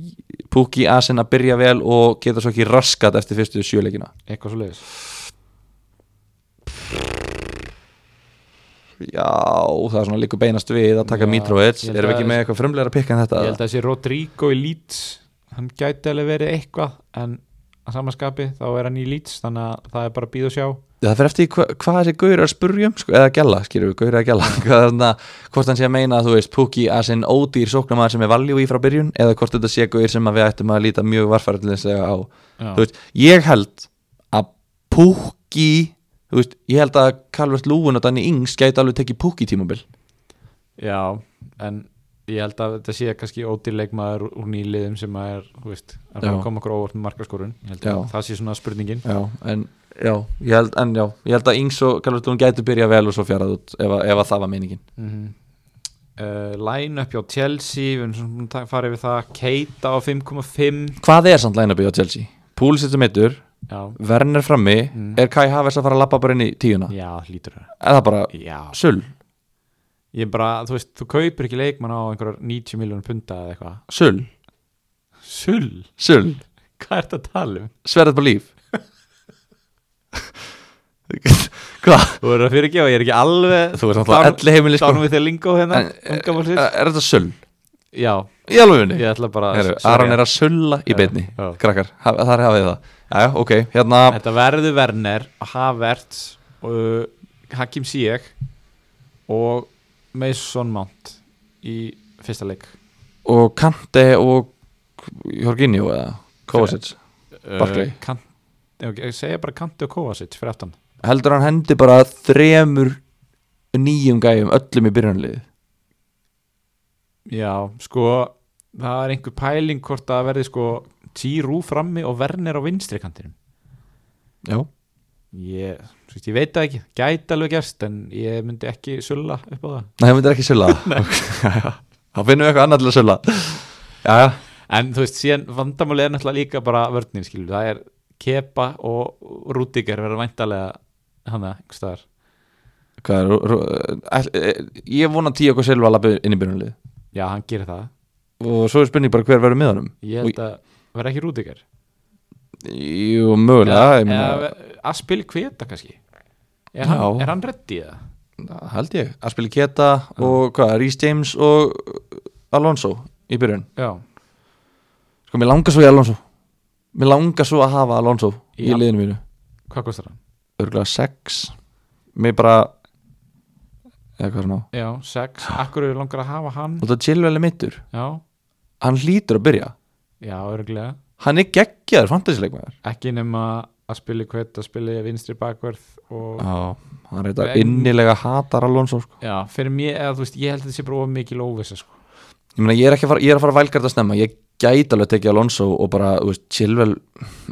S1: Púki Asin að byrja vel og geta svo ekki raskat eftir fyrstu sjöleikina
S2: eitthvað svo leiðis
S1: Já, það er svona líka beinast við að taka
S2: Já,
S1: Mitrovic
S2: ég held
S1: Erum við ekki
S2: að-
S1: með eitthvað frumlegar að pikka en þetta?
S2: ég held að þessi Rodrigo í Leeds hann gæti alveg verið eitthvað en að samanskapi þá er hann í Leeds þannig að það er bara að býða og sjá
S1: Já, Það fyrir eftir því hva, hvað þessi gaur er að spurja um sko, eða gæla, skýrðu, gaur er að gæla hvað, er þarna, hvort hann sé að meina að þú veist Pukki að sinn ódýr sóknamaður sem er valjú í frá byrjun eða hvort þetta sé gaur sem að við ættum að líta mjög varfærilega á
S2: Já.
S1: Þú veist, ég held að Pukki þú veist, ég held að Calvert Lúin og Danny Ings gæti alveg tekið Pukki tímabil
S2: Já, en ég held að þetta sé kannski ódýrleikmaður úr nýliðum sem að er, þú veist, að fara
S1: Já.
S2: að koma okkur á óvart með markaskorun, ég held
S1: Já.
S2: að það sé svona spurningin
S1: Já, en já, ég held, en, já, ég held að Ings og Calvert Lúin gæti byrja vel og svo fjarað út ef, að- ef að það var meiningin
S2: mm -hmm. Line up Eh, hjá Chelsea, við erum svona búin að ta- fara yfir það Keita á 5,5
S1: Hvað er samt lænabíð á Chelsea? Púlisett sem eittur,
S2: Já,
S1: Werner frammi
S2: Mm.
S1: er Kai Havers að fara að lappa bara inn í tíuna
S2: já, hlýtur það
S1: er það bara
S2: Hérna. Já,
S1: sull,
S2: ég bara, þú veist, þú kaupir ekki leikmann á einhverjar 90 miljónu punda eða eitthvað
S1: sull,
S2: Sull,
S1: sull
S2: hvað ertu að tala um?
S1: sverðið bara líf hvað?
S2: Þú verður að fyrirgefa, ég er ekki alveg
S1: þú veist náttúrulega elli heimili sko
S2: Dánum við þegar lingó hérna,
S1: En, eh,
S2: unga fólksins
S1: er er þetta sull?
S2: Já,
S1: í alvegunni?
S2: ég ætla bara að
S1: Heru,
S2: segja-
S1: Aron er að sulla í
S2: Já,
S1: beinni
S2: já.
S1: krakkar, haf- þar hafið þið það já, ok, hérna
S2: Þetta verður Werner, Havertz og Hakim Ziyech og Mason Mount í fyrsta leik
S1: og Kante og Jorginho eða Kovacic Barkley.
S2: Eh, Kan- Já, ég segja bara Kanti og Kovacic fyrir aftan
S1: heldur hann hendi bara þremur nýjum gæjum öllum í byrjanlið
S2: Já, sko það er einhver pæling hvort að verði sko Tírú frammi og Werner á vinstri kantinum
S1: já,
S2: ég, þú veist, ég veit það ekki, gæti alveg gerst en ég myndi ekki sulla upp á það
S1: nei, það myndir ekki sölla þá finnum við eitthvað annað til að sölla já,
S2: en þú veist, síðan vandamáli er náttúrulega líka bara vörnir, skilur, það er Kepa og Rúdíker verða væntalega hana, einhvers staðar
S1: hvað er rú- rú- ætl- eh, ég vona tíu okkur selva að lappa inn í byrjanlið
S2: já, hann gerir það,
S1: og svo er spurning bara hver verður með honum
S2: ég held að verða ekki Rúdíker
S1: jú, mögulega ég meina,
S2: Aspil Kveta kannski er
S1: Já.
S2: hann, er hann reddi eða?
S1: held ég, Aspili Keta og hvað, Rhys James og uh, Alonso í byrjun
S2: já,
S1: sko, mér langar svo í Alonso mér langar svo að hafa Alonso í
S2: Já.
S1: liðinu mínu
S2: hvað kostar hann?
S1: örgulega 6 mér bara eða hvað er ná
S2: já, sex, akkur eru langar að hafa hann
S1: og það Chilwell er mittur,
S2: já,
S1: hann hlýtur að byrja
S2: já, örglega
S1: hann er geggjaður fantasíleikmaður
S2: ekki nema að spili kvöt að spili vinstri bakverð og
S1: já, hann reyta
S2: En-
S1: innilega hatar Alonso sko.
S2: já, fyrir mér, eða þú veist, ég held að þetta sé bara of mikil óvissa sko.
S1: ég meina ég er ekki að fara, ég er að fara vælgært að snemma ég gæti alveg tekið Alonso og bara þú veist, Chilwell,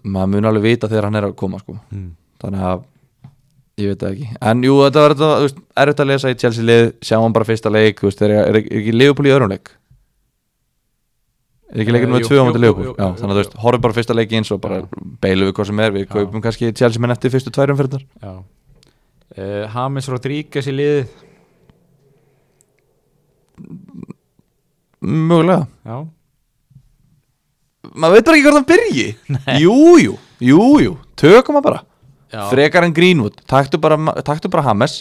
S1: maður mun alveg vita þegar hann er að koma sko.
S2: mm.
S1: þannig að ég veit það ekki en jú, þetta var þetta, þú veist, erfitt að lesa í Chelsea lið sjá hann bara fyrsta leik, þú veist, er, er, er ekki Leopold í öðrum leik er ekki leikur
S2: Eh,
S1: með
S2: jú,
S1: tvö
S2: jú,
S1: ámandi
S2: jú,
S1: Leopold
S2: jú,
S1: já,
S2: jú,
S1: þannig að þú veist, horfum bara á fyrsta leik eins og bara beilum við hvað sem er, við kaupum kannski Chelsea menn eftir fyrstu tværum fyrir þar
S2: já uh, Hamis Rodríguez í liðið
S1: mögulega,
S2: já,
S1: maður veit bara ekki hvort hann byrji jújú, jújú, jú, jú. tökum hann bara frekar en Greenwood, taktu bara, taktu bara Hames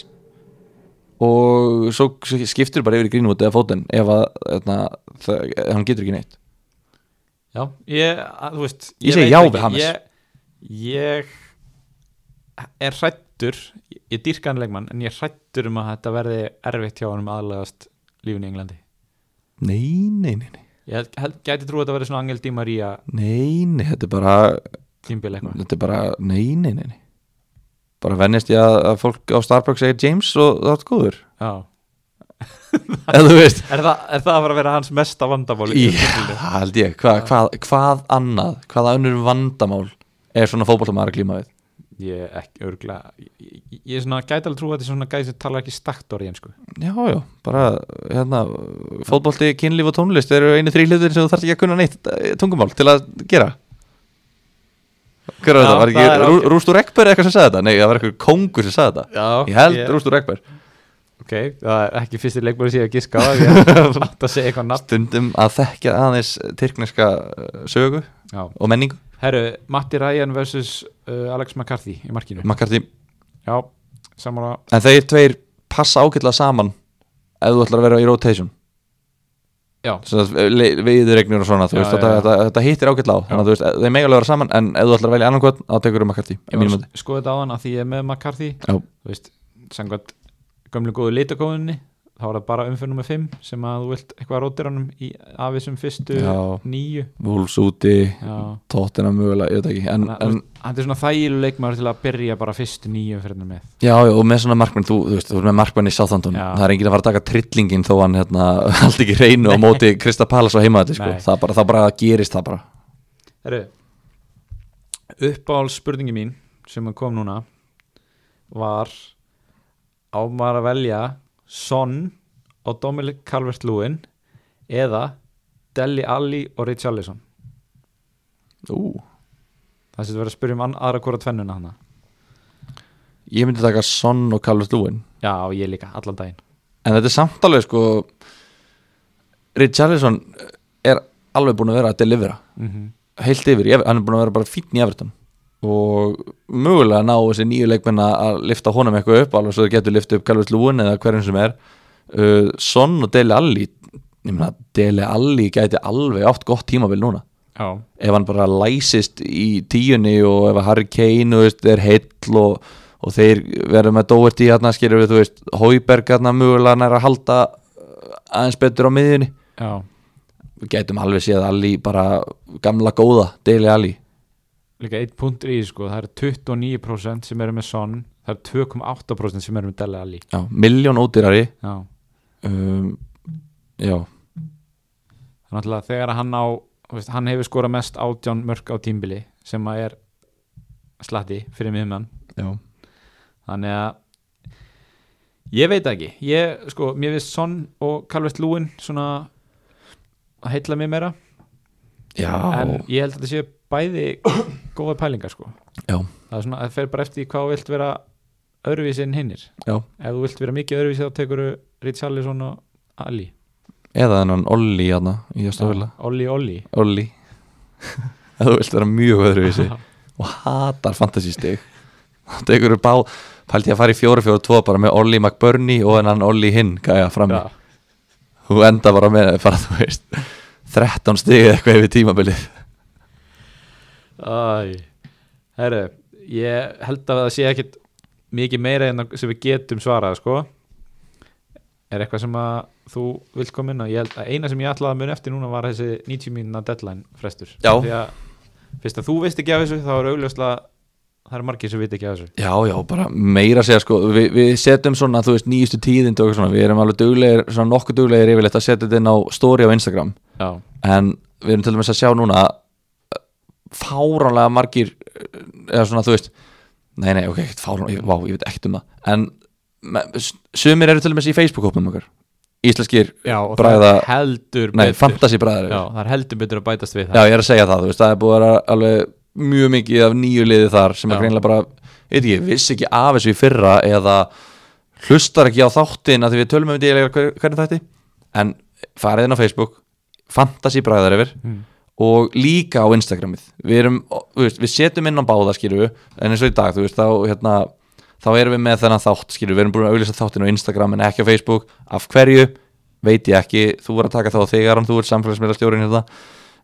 S1: og svo skiptir bara yfir í Greenwood eða fótinn ef að, eðna, það, hann getur ekki neitt
S2: já, ég, að, þú veist
S1: Ég segi
S2: veit
S1: já
S2: ekki,
S1: við James.
S2: ég, ég er hrættur ég dýrka hann leikmann en ég er hrættur um að þetta verði erfitt hjá hann um aðlegast lífin í Englandi
S1: Nei, nei, nei, nei,
S2: ég held, held, gæti trú að þetta verði svona Angel Di Maria
S1: nei, nei, þetta er bara,
S2: tímbil eitthvað
S1: þetta er bara, nei, nei, nei, nei. Bara vennist ég að, að fólk á Starbucks segir James og það er góður,
S2: já
S1: eða þú veist.
S2: Er það, er það að fara að vera hans mesta vandamáli?
S1: Já, það held ég, hvað, hvað, hvað annað, hvaða önnur vandamál er svona fótballtamaður að klíma við?
S2: Ég ekki örgla Ég, ég- ég er svona gæti alveg trú að þetta er svona gæti sem tala ekki stakt orði en sko
S1: Já, já, bara, hérna, fótballti, kynlíf og tónlist eru einu þrý hlutin sem þú þarft ekki að kunna neitt eh, tungumál til að gera. Hver var þetta? Var
S2: Já, það er
S1: ekki Rú-
S2: ágætt.
S1: Rústur Ekberg eitthvað sem sagði þetta? Nei, það var eitthvað kongur sem sagði þetta.
S2: Já,
S1: Ég held Rústur Ekberg.
S2: Ok, það er ekki fyrsti leikmæri sem ég hef giska á Ég er að segja eitthvað nafn
S1: stundum að þekkja aðeins tyrkneska eh, sögu
S2: Já.
S1: og menningu
S2: Herru, Matti Ryan vs. Uh, Alex McCarthy í markinu
S1: Makarti,
S2: Já, samanlega
S1: en þeir tveir passa ágætlega saman ef þú ætlar að vera í rotation
S2: Já,
S1: viðregnur og svona, þú
S2: Já,
S1: veist,
S2: já,
S1: þetta,
S2: já.
S1: þetta, þetta hittir ágætlega á, þannig að þú veist, eh, þeir mega alveg vera saman en ef þú ætlar að velja annan hvort, þá tekur þú Makarti
S2: ég var að skoða þetta á hann að því ég er með McCarthy
S1: Já,
S2: Þú veist, samkvæmt gömlu góðu litakóðunni þá var það bara umfyrir nummer 5 sem að þú vilt eitthvað rótir honum í af þessum fyrstu
S1: Já.
S2: níu
S1: Wolves úti,
S2: Já
S1: tóttina mögulega, ég veit ekki en,
S2: Þannig að,
S1: en,
S2: þú veist, Þetta er svona þægileg leikmaður til að byrja bara fyrstu nýju fyrir með
S1: já, já, og með svona markmenn þú, þú veist, þú veist, með markmenn í Southampton
S2: Já.
S1: það er enginn að fara að taka trillingin þó hann hérna, haldi ekki reynu á móti Krista Palas á heimaðalli, sko,
S2: Nei.
S1: það bara, það bara gerist það bara
S2: Herru Uppáhald spurningi mín sem kom núna var á maður að velja Son og Dominic Calvert-Lewin eða Deli Alli og Richarlison
S1: Ú,
S2: Það sem þú verður að spyrja um ann- aðra hvora tvennuna hana
S1: ég myndi taka Son og Calvert Lewin
S2: Já, ég líka, allan daginn
S1: en þetta er samt alveg sko Richarlison er alveg búin að vera að delivera
S2: mm -hmm.
S1: heilt yfir, Ég- hann er búin að vera bara fínn í Everton og mögulega ná þessi nýju leikmenn að- að lifta honum eitthvað upp alveg svo þeir getur lifta upp Calvert Lewin eða hverjum sem er uh, Son og Dele Alli ég meina Dele Alli gæti alveg átt gott tímabil núna
S2: Já,
S1: ef hann bara læsist í tíunni og ef að Harry Kane þú veist, er heill og, og þeir verður með Doherty hérna skilur við, þú veist, Hauberg hérna mögulega nær að halda uh, aðeins betur á miðjunni
S2: já,
S1: við gætum alveg séð Alli bara gamla góða, Deli Alli
S2: líka 1 punkt í því, sko, það eru 29% sem eru með Son, það eru 2,8% sem eru með Dele Alli
S1: já, miljón ódýrari
S2: já,
S1: um, já,
S2: þannig að þegar hann á þú veist, hann hefur skorað mest átján mörk á tímbili sem að er slatti fyrir miðmann
S1: já,
S2: þannig að ég veit það ekki, ég sko mér finnst Son og Calvert Lúin svona að heilla mig meira en
S1: já,
S2: ég held að þetta séu bæði góða pælingar sko
S1: já,
S2: það er svona, það fer bara eftir því hvað þú vilt vera öðruvísi en hinnir
S1: já.
S2: ef þú vilt vera mikið öðruvísi þá tekur Richarlison og Ali
S1: eða þennan Olli hérna í Jóstafilla,
S2: Olli Olli
S1: Olli ef þú vilt vera mjög öðruvísi og hatar fantasystig þá tekur þú bá pælti ég að fara í 4-4-2 bara með Olli McBurney og hennan Olli hinn gæja frammi
S2: Já.
S1: þú enda bara með bara, þú veist, 13 stig eða eitthvað yfir tímabilið
S2: Æ, herru, ég held að það sé ekkit mikið meira en að- sem við getum svarað, sko. Er eitthvað sem að þú vilt koma inn á? Ég held að eina sem ég ætlaði að mun eftir núna var þessi 90 mínuna deadline frestur.
S1: Já.
S2: Því að fyrst að þú veist ekki af þessu, þá er augljóslega, það er margir sem veit ekki af þessu.
S1: Já, já, bara meira að segja sko við, við setjum svona, þú veist, nýjustu tíðind og eitthvað svona, við erum alveg duglegir, svona nokkuð duglegir yfirleitt að setja þetta inn á story á Instagram
S2: Já,
S1: en við erum til dæmis að sjá núna eh, fáránlega margir eh, eða svona, þú veist nei, nei, ok, ekkert fáránlega, ég- vá, ég veit ekkert um það en me- s- sumir eru til dæmis í Facebook-hópum okkar íslenskir,
S2: já og það
S1: Bragða-
S2: er heldur
S1: nei,
S2: betur.
S1: fantasybræðar
S2: Já, það er heldur betur að bætast við það.
S1: Já, ég er að segja það, þú veist, það er búið að vera alveg mjög mikið af nýju liði þar sem
S2: Já.
S1: er greinlega bara, veit ekki, viss ekki af þessu í fyrra eða hlustar ekki á þáttin að því við tölum um dýlega hvernig þætti, en farið inn á Facebook, fantasy bræðar yfir
S2: Mm.
S1: og líka á Instagramið, við erum, þú veist, við setjum inn á báða skilju, en eins og í dag, þú veist, þá hérna, þá erum við með þennan þátt skilju, við erum búin að auðlýsa þáttin á Instagram en ekki á Facebook, af hverju, veit ég ekki þú er að taka þá þegar hann, þú er samfélagsmiðlastjórin hérna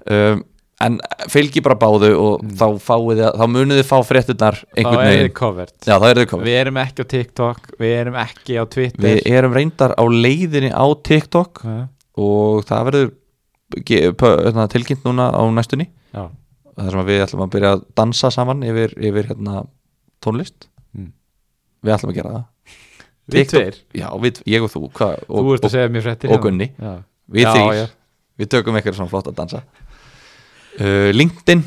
S1: um, en fylgi bara báðu og þá fáið þið, þá munið þið fá frétturnar
S2: Mm. Þá
S1: einhvern
S2: er þið
S1: veginn,
S2: covert.
S1: já það er þið komið við,
S2: Við erum ekki á TikTok, við erum ekki á Twitter.
S1: erum reyndar á leiðinni á TikTok
S2: erum.
S1: og það verður ge- pö- hérna, tilkynnt núna á næstunni
S2: Já.
S1: þar sem að við ætlum að byrja að dansa saman yfir, yfir hérna, tónlist
S2: Mm.
S1: við ætlum að gera það
S2: Við
S1: TikTok-
S2: tveir.
S1: já, við, ég og þú, hva, og,
S2: Þú ert að
S1: og,
S2: segja mér fréttir.
S1: og
S2: hérna.
S1: Gunni
S2: Já.
S1: við
S2: Já,
S1: þýr,
S2: já.
S1: við tökum eitthvað svona flott að dansa uh, LinkedIn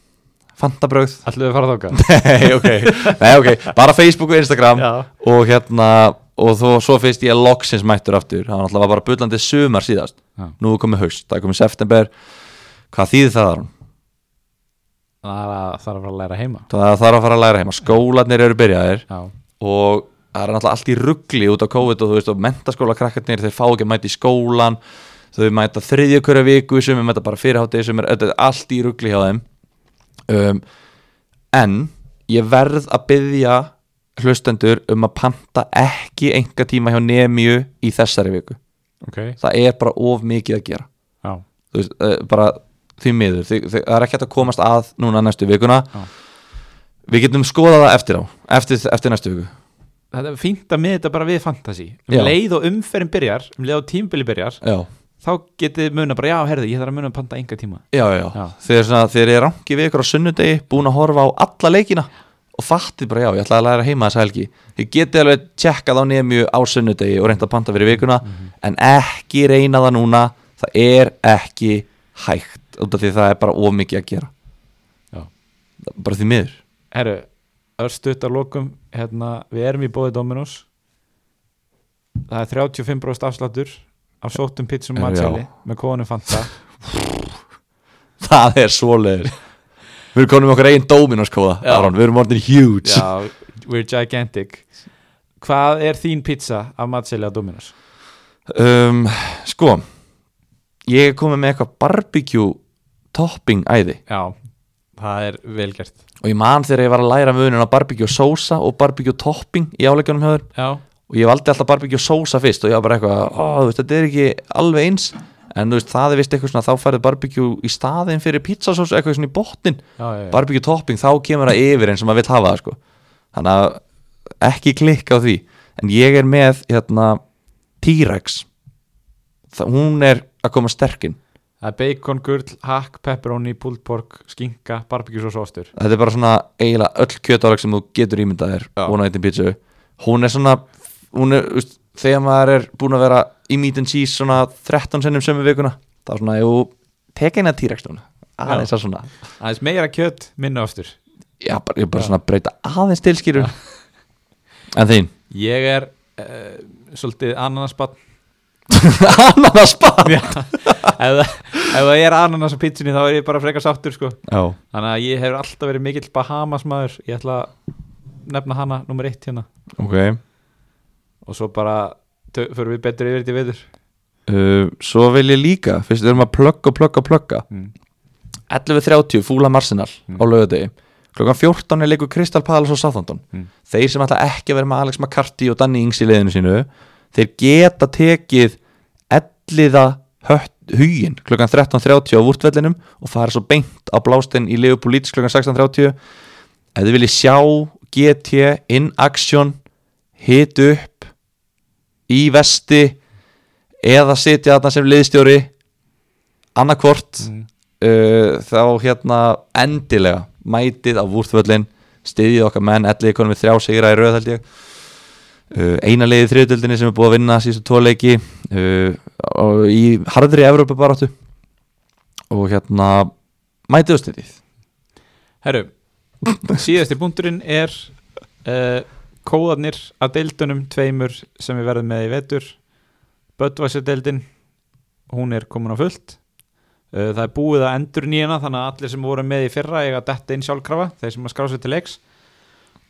S1: Fantabröð
S2: Ætlum við að fara þáka?
S1: Nei, ok, Nei, ok, bara Facebook og Instagram
S2: Já.
S1: og hérna og þó, svo finnst ég loksins mættur aftur hann alltaf var bara bullandi sumar síðast
S2: Já.
S1: nú er komið haust, það er komið september hvað þýðir það Aron?
S2: Það er að það er að fara að læra heima.
S1: það þarf að fara að læra heima, skólanir eru byrjaðir
S2: Já.
S1: og það er náttúrulega allt í ruggli út á COVID og þú veist og mentaskóla krakkarnir þeir fá ekki að mæta í skólan þau mæta þriðju hverja viku sem er mæta bara fyrirháttið sem er þetta er allt í ruggli hjá þeim um, en ég verð að byggja hlustendur um að panta ekki enga tíma hjá nemiu í þessari viku
S2: Ok.
S1: það er bara of mikið að gera
S2: Já.
S1: þú veist, uh, bara því miður því, því, það er ekki hægt að komast að núna næstu vikuna
S2: Já.
S1: við getum skoðað það eftir á eftir, eftir næstu viku
S2: Þetta er fínt að miða þetta bara við fantasy. Um
S1: Já.
S2: leið og umferðin byrjar, um leið og tímbili byrjar,
S1: já
S2: þá getið þið muna bara, já, herðu, ég þarf að muna að panta enga tíma.
S1: já, já,
S2: Já.
S1: já. Þeir, svona, þeir eru rangi við ykkur á sunnudegi búin að horfa á alla leikina og fattið bara já, ég ætlaði að læra heima þessa helgi þið getið alveg tjekkað á nefnju á sunnudegi og reynda að panta fyrir vikuna
S2: Mhm.
S1: en ekki reyna það núna það er ekki hægt út af því það er bara ómikið að gera
S2: Já.
S1: bara því miður
S2: Herru, örstuðt að lokum, hérna, við erum í bóði Dominos. Það er 35% afsláttur af sóttum pizzum
S1: Já.
S2: matseli með kóðanum Fanta.
S1: það er svoleiður við erum konum okkur eigin Dominos-kóða
S2: Já.
S1: Aron, við erum orðin huge
S2: já, we're gigantic. Hvað er þín pizza af matseli á Dominos?
S1: um, sko ég er komið með eitthvað barbecue topping æði
S2: Já, það er vel gert.
S1: og ég man þegar ég var að læra munun á barbecue sósa og barbecue topping í áleikjunum hjá þér
S2: Já,
S1: og ég valdi alltaf barbecue sósa fyrst og ég var bara eitthvað, ó, þú veist, þetta er ekki alveg eins en þú veist, það er vist eitthvað svona þá færið barbecue í staðin fyrir pizzasósa eitthvað svona í botnin,
S2: já, já, já.
S1: barbecue topping þá kemur það yfir eins og maður vill hafa það sko þannig að ekki klikka á því en ég er með hérna, T-Rex það, hún er að koma sterkinn
S2: Það er bacon, gurl, hakk, pepperoni, pulled pork, skinka, barbecue og oftur
S1: þetta er bara svona eiginlega öll kjötáleg sem þú getur ímyndað þér
S2: Já.
S1: one item pizza hún er svona hún er, veist, þegar maður er búin að vera í meat and cheese svona 13 sinnum sömu vikuna það er svona, jú, tek eina T-Rex núna aðeins að svona
S2: Aðeins meira kjöt, minna oftur
S1: já, bara, ég er bara svona að breyta aðeins tilskýru en þín
S2: Ég er uh, svolítið ananasbann
S1: ananaspar
S2: Já, ef, ef það er ananas á pítsunni þá er ég bara frekar sáttur sko.
S1: já,
S2: þannig að ég hefur alltaf verið mikill Bahamas maður ég ætla að nefna hana nummer eitt hérna
S1: ok
S2: og svo bara tö- förum við betur yfir þetta viður
S1: uh, svo vil ég líka, fyrst við erum að plugga, plugga, plugga
S2: mm.
S1: 11.30 fúla Marsenal
S2: Mm.
S1: á laugardegi klokkan 14 er leikur Crystal Palace og Southampton
S2: Mm.
S1: þeir sem ætla ekki að vera með Alex McCarthy og Danny Ings í liðinu sínu þeir geta tekið elliða hugin klokkan 13.30 á vúrtvellinum og fara svo beint á blástinn í Liverpool Leeds klokkan 16.30 ef þið viljið sjá GT in action hit upp í vesti eða sitja þarna sem liðstjóri annarkvort
S2: Mm.
S1: uh, þá hérna endilega mætið á vúrþvöllin stiðið okkar menn, ellið konum við þrjá sigra í röð held ég uh, eina leiði þriðutöldinni sem er búið að vinna síðustu tóleiki uh, og í harðri Evrópa baráttu og hérna mætið og stiðið
S2: Herru, síðasti punkturinn er uh, kóðanir að deildunum tveimur sem við verðum með í vetur Böttvæsjadeildin hún er komin á fullt uh, það er búið að endur nýjana þannig að allir sem voru með í fyrra eiga að detta inn sjálfkrafa þeir sem að skrá sér til leiks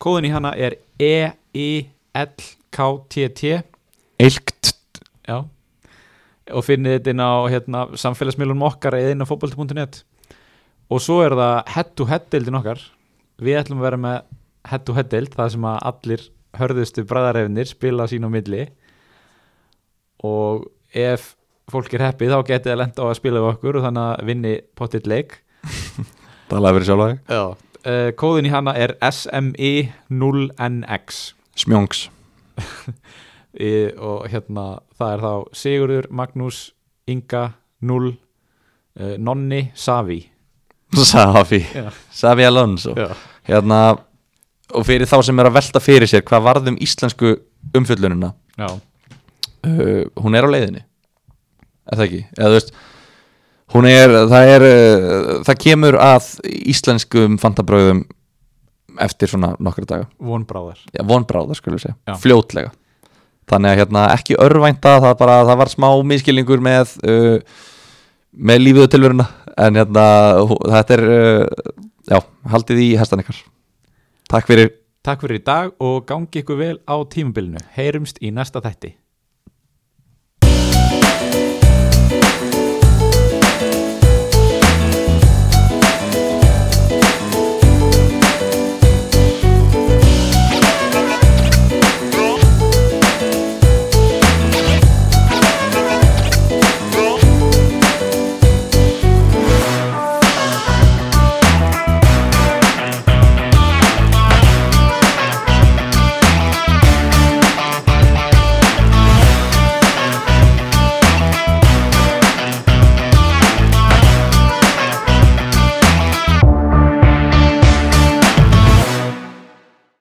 S2: kóðin í hana er E E-I-L-K-T-T
S1: Eilkt
S2: Já og finnið þetta inn á hérna, samfélagsmiðlunum okkar eða inn á fótbolti.net og svo er það head to head deildin okkar við ætlum að vera með head to head deild það sem að allir hörðustu bræðarefnir spila sín á milli og ef fólk er heppið þá getið að lenda á að spila við okkur og þannig að vinni pottitt leik
S1: talaði verið sjálf aðeins
S2: Já Kóðin í hana er SMI0NX
S1: Smjóngs
S2: í, og hérna það er þá Sigurður, Magnús, Inga, Null, uh, Nonni, Savi
S1: Safi
S2: Já.
S1: Safi Alonso
S2: Já.
S1: hérna og fyrir þá sem er að velta fyrir sér hvað varðum íslensku umfjöllunina
S2: Já,
S1: uh, hún er á leiðinni er það ekki, eða þú veist hún er, það er uh, það kemur að íslenskum fantabröðum eftir svona nokkra daga,
S2: vonbráðar
S1: já, vonbráðar skulum við segja,
S2: Já.
S1: fljótlega þannig að hérna ekki örvænta það bara það var smá miskilningur með uh, með lífið og tilveruna en hérna hú- þetta er uh, já, haldið í hestan ykkar takk fyrir
S2: Takk fyrir í dag og gangi ykkur vel á tímabilinu Heyrumst í næsta þætti